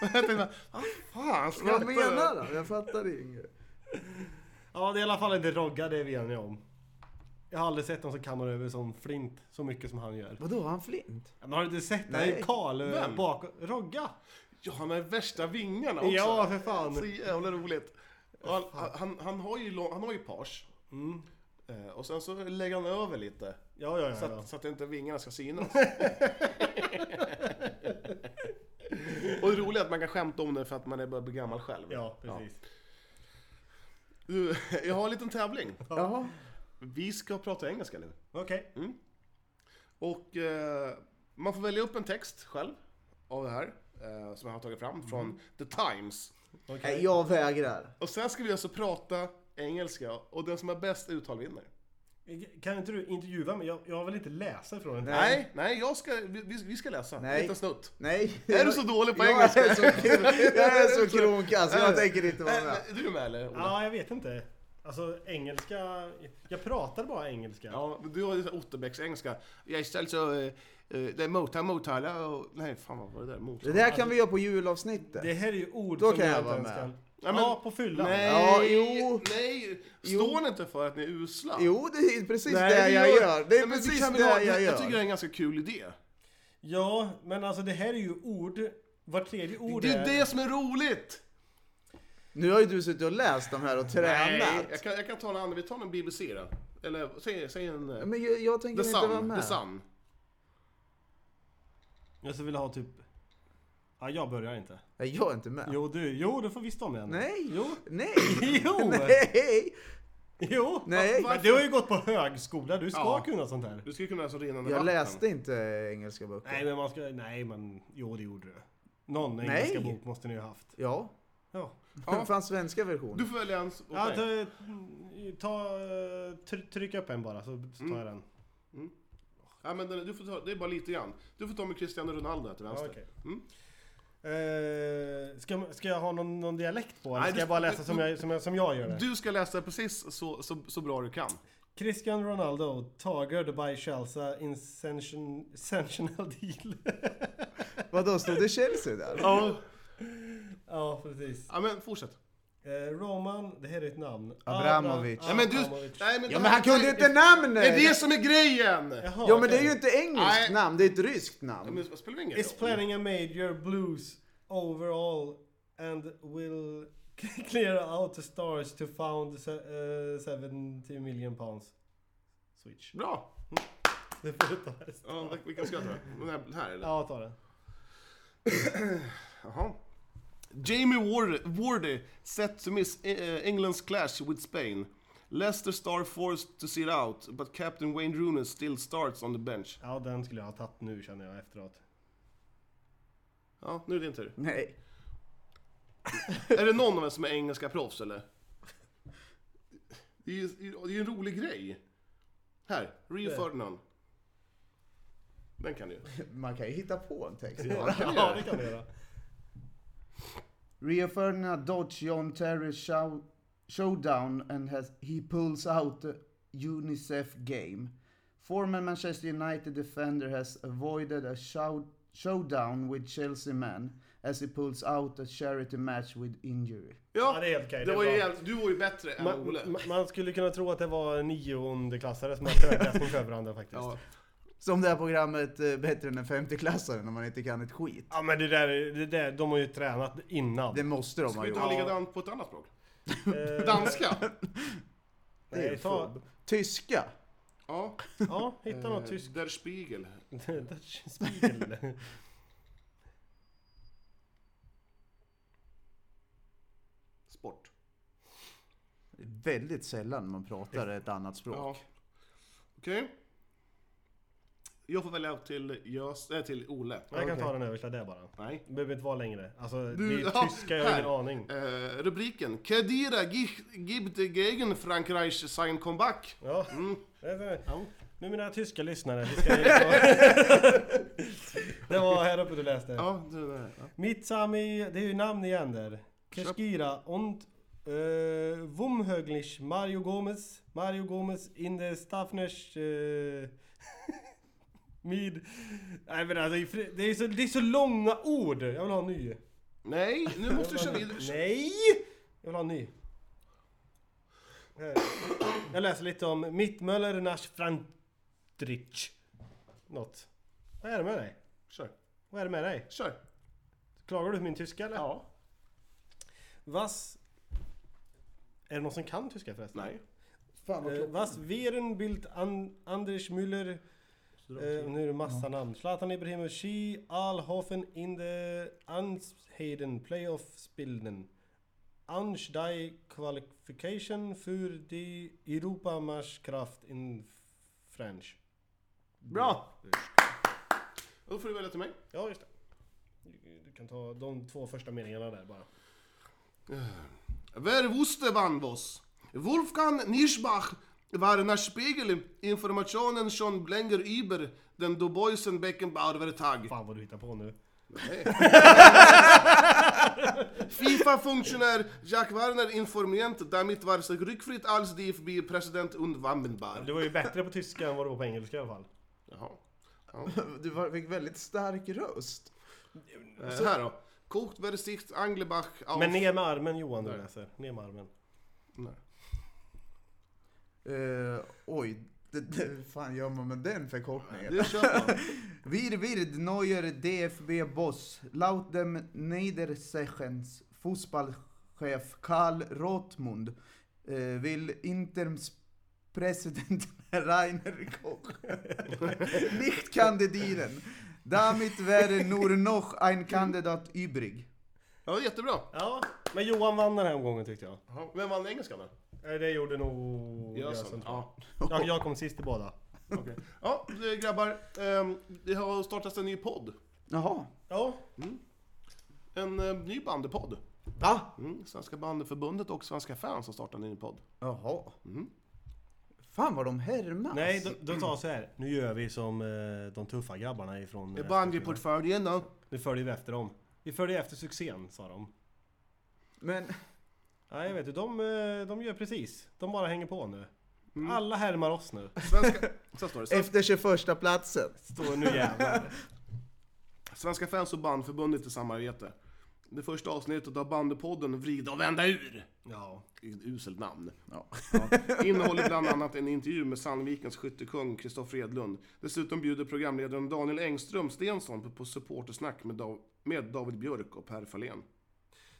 E: jag tänkte bara, ah, fan
G: Vad
E: skrattar
G: menar han? Jag fattar inget.
D: Ja, det är i alla fall inte Rogga, det är vi eniga om. Jag har aldrig sett någon som kammar över sån flint så mycket som han gör.
G: Vadå, har han flint?
D: Men har du inte sett? Nej. Det
G: Nej.
D: är Karl eh,
E: Vem?
D: bakom... Rogga!
E: Ja, han har värsta vingarna också.
D: Ja, för fan.
E: Så jävla roligt. Och Han, han, han, har ju, lång- han har ju pars.
D: Mm.
E: Eh, Och sen så lägger han över lite.
D: Ja, ja, ja.
E: Så
D: ja.
E: att, så att inte vingarna ska
D: [LAUGHS]
E: synas. och det roliga är att man kan skämta om det för att man är börjar bli gammal själv.
D: Ja, precis.
E: Du, [LAUGHS] Jag har en liten tävling.
G: Jaha.
E: Vi ska prata engelska nu.
D: Okej.
E: Och eh, man får välja upp en text själv av det här. eh, Som jag har tagit
D: Mm.
E: fram från The Times.
G: Nej, jag vägrar.
E: Och sen ska vi alltså prata engelska och den som har bäst uttal vinner.
D: Kan inte du intervjua mig? Jag, jag vill inte läsa från den.
E: Nej, nej, jag ska, vi, vi- vi ska läsa.
G: Nej.
E: Liten
G: [LAUGHS]
E: snutt.
G: Nej.
E: Är du så dålig på
G: jag
E: engelska?
G: Är så, jag är [LAUGHS] så kronkass, jag tänker inte vara
E: Är,
G: med.
E: [LAUGHS] är du med eller? Ola?
D: Ja, jag vet inte. Alltså engelska... Jag pratar bara engelska.
E: Ja, men du har ju så här Otterbäcks engelska. Jag istället så... eh, eh, Det är Motala, Motala och... Nej, fan vad var det där?
G: Det
E: Motala.
G: där kan vi göra på julavsnittet.
D: Det här är ju ord
G: Då
D: som
G: kan
D: jag
G: jag
D: inte
G: vara
D: ens
G: med.
D: kan...
E: Ja, men-
D: Ja, på fyllan.
E: Nej,
G: Ja, jo.
E: nej.
G: Jo.
E: Står ni inte för att ni är usla?
G: Jo, det är precis
E: Nej,
G: det jag gör. Det
E: Nej,
G: är
E: men
G: precis
E: kan
G: det
E: vi ha-
G: jag gör.
E: Jag tycker det är en ganska kul idé.
D: Ja, men alltså det här är ju ord. Vart tredje ord
E: Det är ju det som är roligt!
G: Nu har ju du suttit och läst de här och tränat.
E: Jag kan, jag kan ta en annan. Vi tar en BBC då. Eller säg, säg en... eh,
G: Men jag, jag
E: The
G: tänker inte vara
E: Sun. The
G: med.
E: Sun.
D: Jag skulle vilja ha typ... Ja, jag börjar inte.
G: Nej, jag är inte med.
D: Jo, du. Jo, du får visst om igen.
G: Nej.
D: Jo.
E: [LAUGHS]
G: Nej.
D: Jo.
G: [LAUGHS] Nej.
D: Jo.
G: Nej.
D: Men du har ju gått på högskola. Du ska
E: Ja.
D: kunna sånt här.
E: Du skulle kunna läsa rinnande
G: Jag
E: vatten.
G: läste inte engelska böcker.
D: Nej, men man ska... Nej, men... Jo, det gjorde du. Någon
G: Nej.
D: engelska bok måste ni ju ha haft.
G: Ja.
D: Ja.
G: Det [LAUGHS] fanns svenska versioner.
E: Du får välja en... åt
D: Ja,
E: mig.
D: ta, ta, try- tryck upp en bara så tar jag den.
E: Ja, men den- du får ta, det är bara lite grann. Du får ta med Cristiano Ronaldo här till vänster.
D: Ja, okej.
E: Mm.
D: Eh, ska, ska jag ha någon, någon dialekt på eller
E: Nej,
D: ska
E: du-
D: jag bara läsa
E: du-
D: som, jag, som, jag, som jag gör det?
E: Du ska läsa precis så, så, så bra du kan.
D: Cristiano Ronaldo tagered by Chelsea in sanction- sanctional uh, deal. [LAUGHS]
G: Vadå, stod det Chelsea där?
E: Ja.
D: ja, precis.
E: ja men fortsätt.
D: Eh, Roman, det här är ett namn.
G: Abramovic.
D: Abra-
E: Nej, men du,
D: Abramovic.
E: nej, men
G: Ja, men han kunde inte namnet!
E: Det är det som är grejen!
D: Jaha,
G: Ja, men det
D: okej.
G: är ju inte engelskt
E: Nej.
G: namn, det är ett ryskt
E: Ja,
G: namn.
E: men det spelar ingen
D: Is
E: roll.
D: planning a major blues overall and will [LAUGHS] clear out the stars to found se- eh, 70 million pounds. Switch. [LAUGHS]
E: Bra!
D: Det får du ta resten.
E: Ja, vi- vi kan skratta. Den här, den här eller?
D: Ja, ta den.
E: Jaha. Jamie Ward- Wardy set to miss eh, England's clash with Spain. Leicester star forced to sit out, but Captain Wayne Rooney still starts on the bench.
D: Ja, den skulle jag ha tagit nu känner jag efteråt.
E: Ja, nu är det din tur.
G: Nej.
E: Är det någon av er som är engelska proffs eller? Det är ju det är ju en rolig grej. Här, Rio Ferdinand. Den kan du ju.
G: Man kan ju hitta på en text.
E: [LAUGHS]
D: Ja, det kan du göra.
G: Rio Ferdinand dodge John Terry show, showdown and has, he pulls out the Unicef game. Former Manchester United defender has avoided a show, showdown with Chelsea man as he pulls out a charity match with injury.
D: Ja, det är helt okej, det
E: Det
D: är
E: var ju
D: bra.
E: jävligt, du var ju bättre än
D: Man,
E: Ole.
D: ma- man skulle kunna tro att det var niondeklassare som hade föreläsning för varandra faktiskt. Ja.
E: Ja.
G: Som det här programmet eh, Bättre än en femteklassare när man inte kan ett skit.
D: men det där, det där, de har ju tränat innan. Eh,
G: Det måste de
E: Ska
G: ha
E: vi
G: gjort.
E: inte ha likadant på ett annat språk?
D: [LAUGHS]
E: Danska?
G: Det är
D: Nej, ta,
G: fub. Tyska?
E: Ja. Eh,
D: ja, hitta något tyskt. [LAUGHS]
E: Der Spiegel.
D: Dutch Spiegel.
E: Sport.
G: Det är Väldigt sällan man pratar ett annat språk.
E: Ja. Okej. Jag får välja till, Jös, äh, till Ole.
D: Jag kan ta den översta där bara.
E: Nej.
D: Det behöver inte vara längre. Alltså,
E: Du-
D: det är
E: ja,
D: tyska, jag har ingen
E: här.
D: aning.
E: Eh, rubriken. Kedira gi- gibt gegen Frankreich sein comeback.
D: Ja.
E: Mm. Ja.
D: Nu mina tyska lyssnare, vi ska Det var här uppe du läste.
E: Ja, det där. Ja.
D: Mitsami, det är ju namn igen där. Kashkira und äh, Wumhöglich Mario Gomez. Mario Gomez in der Staffnesh... Äh, [LAUGHS] Mid... Nej men alltså, det är, så, det är så långa ord! Jag vill ha en ny.
E: Nej, [LAUGHS] nu måste du
D: Jag
E: känna
D: vill ha en ny.
E: in...
D: Nej! Jag vill ha en ny. Här. Jag läser lite om Mittmöller nach Frandrich. Något. Vad är det med dig?
E: Kör.
D: Vad är det med dig?
E: Kör.
D: Klagar du på min tyska eller?
E: Ja.
D: Was... Är det någon som kan tyska förresten?
E: Nej.
G: Fan vad
D: Eh,
G: klockan.
D: was wären Bild an, Anders Müller... Eh, nu är det massa namn. Zlatan Ibrahimovic, Xi Alhofen in the Ansheden Playoff-spilden. Ansch die Qualification für die Europamarschkraft in French.
E: Bra! Då får du välja till mig.
D: Ja, just det. Du- Du kan ta de två första meningarna där bara.
E: Wer wusste wann was? Wolfgang Nischbach war nach Spiegel-Informationen schon länger über den Du Boisen Beckenbauer Tag.
D: Fan vad du hittar på nu.
E: Fifa-Funktionär Jack Warner informiert, damit war es rückfritt als DFB-Präsident und Wammenbar.
D: Du var ju bättre på tyska än vad du var på engelska i alla fall.
E: Jaha.
G: Du var- fick väldigt stark röst.
E: Eh, här då. Kocht wer sicht Anglebach auf...
D: Men ner med armen Johan du läser. Ner med armen.
E: Nej.
G: Eh, oj, det, det, fan gör man med den förkortningen?
E: Det köper [LAUGHS] man.
G: Wir wird neuer DFB-Boss. Laut dem Niedersachsens Fußballchef Karl Rothmund eh, vill Interms president [LAUGHS] Rainer Koch [LAUGHS] nicht kandidieren. Damit wäre nur noch ein Kandidat übrig.
E: Ja, jättebra.
D: Ja, men Johan vann den här omgången tyckte jag.
E: Jaha. Vem vann engelskan då?
D: Nej, Det gjorde nog
E: Jösen.
D: Jösen. tror
E: Ja.
D: jag. Jag, jag kom sist i båda.
E: Okej. Ja, eh, grabbar. ehm, Det har startats en ny podd.
G: Jaha.
D: Ja,
E: En eh, ny bandepodd.
G: Va?
E: Mm, Svenska bandeförbundet och Svenska fans har startat en ny podd.
G: Jaha. Fan vad Mhm. de härmas.
D: nej då, då tar jag så här. Nu gör vi som eh, de tuffa grabbarna ifrån... eh, Östersund.
E: Bungyportföljen då?
D: Nu följer vi efter dem. Vi följer efter succén, sa de.
G: Men
D: Nej, jag vet du. De, eh, de gör precis. De bara hänger på nu.
E: Mm.
D: Alla härmar oss nu.
E: Svenska, så står det, Sven-
G: efter 21 platsen.
D: Står [LAUGHS] nu jävlar.
E: Svenska fans och bandförbundet i samarbete. Det första avsnittet av bandepodden Vrida och vända ur.
D: Ja.
E: Vilket Uselt namn.
G: Ja.
E: Ja. Innehåller bland annat en intervju med Sandvikens skyttekung Kristoffer Edlund. Dessutom bjuder programledaren Daniel Engström Stensson på supportersnack med, Dav- med David Björk och Per Fahlén.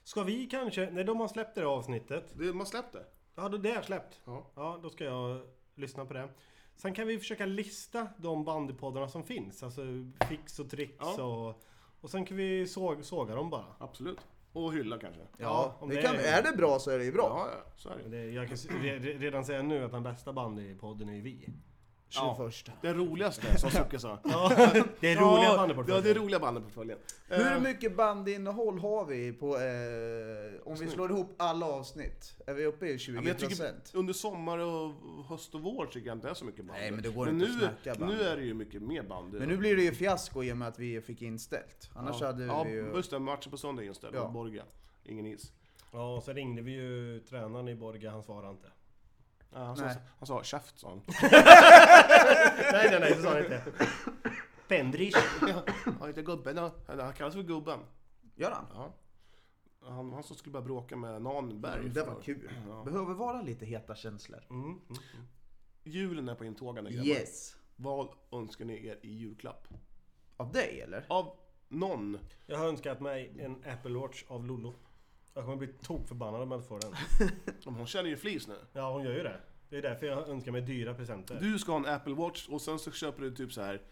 D: Ska vi kanske... Nej, de har släppt det här avsnittet.
E: Det, man släppte.
D: Ja, det är släppt.
E: Ja.
D: Ja, då ska jag lyssna på det. Sen kan vi försöka lista de bandypoddarna som finns. Alltså fix och tricks
E: Ja.
D: och... Och sen kan vi såg, såga dem bara.
E: Absolut. Och hylla kanske.
G: Ja,
D: om
G: det kan, är det bra så är det ju bra.
E: Ja, ja, så är det.
D: Det, jag kan s- re- re- redan säga nu att den bästa bandypodden är ju vi.
G: 21.
E: Den roligaste,
G: [LAUGHS]
E: som Sucke sa.
D: [LAUGHS] Det är
E: Ja,
D: roliga
E: Ja,
D: bandyportföljer.
E: det är roliga bandyportföljen.
G: Hur mycket bandinneehåll har vi på, eh, om vi slår ihop alla avsnitt? Är vi uppe i 20%?
E: Ja, men jag tycker under sommar och höst och vår tycker jag inte det är så mycket bandy.
G: Nej, men det går inte
E: nu,
G: att snacka bandy.
E: Nu är det ju mycket mer bandy.
G: Men nu blir det ju fiasko i och med att vi fick inställt. Annars hade
E: ja,
G: vi ju...
E: just det. Matchen på söndag är inställd.
G: Ja.
E: Borga. Ingen is.
D: Ja, och så ringde vi ju tränaren i Borga, han svarade inte.
E: Ja, han, sa,
G: Nej.
E: han sa käft, sa han. [LAUGHS]
D: Nej, nej, nej, så sa han inte. Pendrich.
E: Ja, inte gubben då. Han kallas för gubben.
G: Gör han?
E: Ja. Han, han som skulle börja bråka med Nanberg.
G: Det var
E: för-
G: kul.
E: Ja. Mm.
G: Behöver vara lite heta känslor.
D: Mm,
E: Julen är på intågande grabbar.
G: Yes.
E: Vad önskar ni er i julklapp?
G: Av dig eller?
E: Av någon.
D: Jag har önskat mig en Apple Watch av Lollo. Jag kommer bli tokförbannad om jag inte får den.
E: Hon känner ju flis nu.
D: Ja, hon gör ju det. Det är därför jag önskar mig dyra presenter.
E: Du ska ha en Apple Watch och sen så köper du typ så här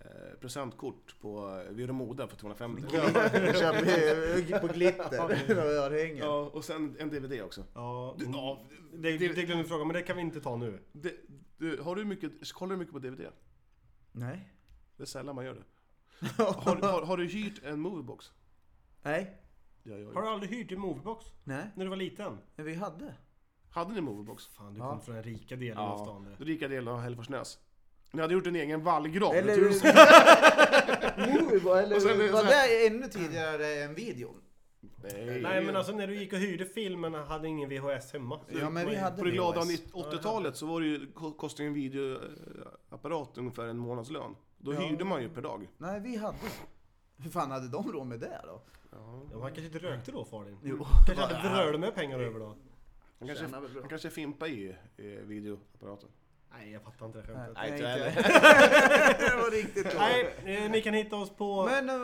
E: eh, presentkort på eh, Vero Moda för 250.
G: [LAUGHS] Jag köper
E: [LAUGHS]
G: på glitter och örhängen.
E: Ja, och sen en DVD också.
D: Ja,
E: Du,
D: mm.
E: ja,
D: det,
E: det-
D: det glömde jag fråga, men det kan vi inte ta nu.
E: det, du, har du mycket, kollar du mycket på DVD?
G: Nej.
E: Det är sällan man gör det. Har, har, har du hyrt en moviebox?
K: Nej.
E: Det har jag
D: Har
E: gjort.
D: du aldrig hyrt en moviebox?
K: Nej.
D: När du var liten?
K: Men vi hade.
E: Hade ni moviebox?
D: Fan, du kom från den rika delen av stan du.
E: Den rika delen av Hälleforsnäs. Ni hade gjort en egen vallgrav.
G: Eller
E: Eller...
G: Jo, eller
E: Och sen är det
G: var
E: så här-
G: det ännu tidigare än videon?
E: Nej.
D: Nej men alltså när du gick och hyrde filmen hade ingen VHS hemma.
K: Ja men vi hade
E: På det glada
K: VHS.
E: 80-talet så var det ju, ko- kostade en videoapparat ungefär en månadslön. Då hyrde man ju per dag.
G: Nej, vi hade. Hur fan hade de råd med det då?
D: Ja, han kanske inte rökte då far din.
G: Jo.
D: Kanske hade bröd med pengar över då.
E: Han kanske, han kanske fimpa i eh, videoapparaten.
D: Nej jag fattar inte det skämtet.
G: Nej, inte
E: heller.
G: jag. [LAUGHS] Det var riktigt dåligt.
D: Nej, eh, ni kan hitta oss på...
G: Men eh,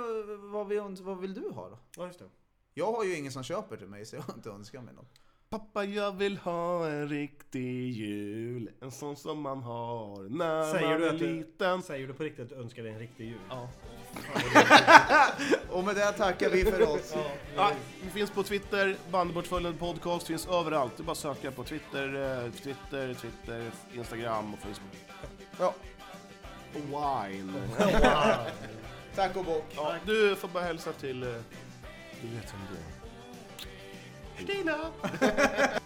G: vad vill, vad vill du ha då?
D: Ja just det.
G: Jag har ju ingen som köper till mig så jag har inte önskat mig något.
E: Pappa jag vill ha en riktig jul, en sån som man har när
D: Säger
E: man
D: du
E: är
D: att du-
E: liten.
D: Säger du på riktigt att du önskar dig en riktig jul? Ja.
G: Och med det tackar vi för oss.
E: Ja, Ah, vi finns på Twitter, Bandyportföljen podcast finns överallt. Det är bara att söka på Twitter, eh, Twitter, Twitter, Instagram och Facebook.
G: Ja,
D: [LAUGHS]
E: Wine.
G: tack och bock.
E: Ja, du får bara hälsa till... eh, Du vet vem det är. Stina!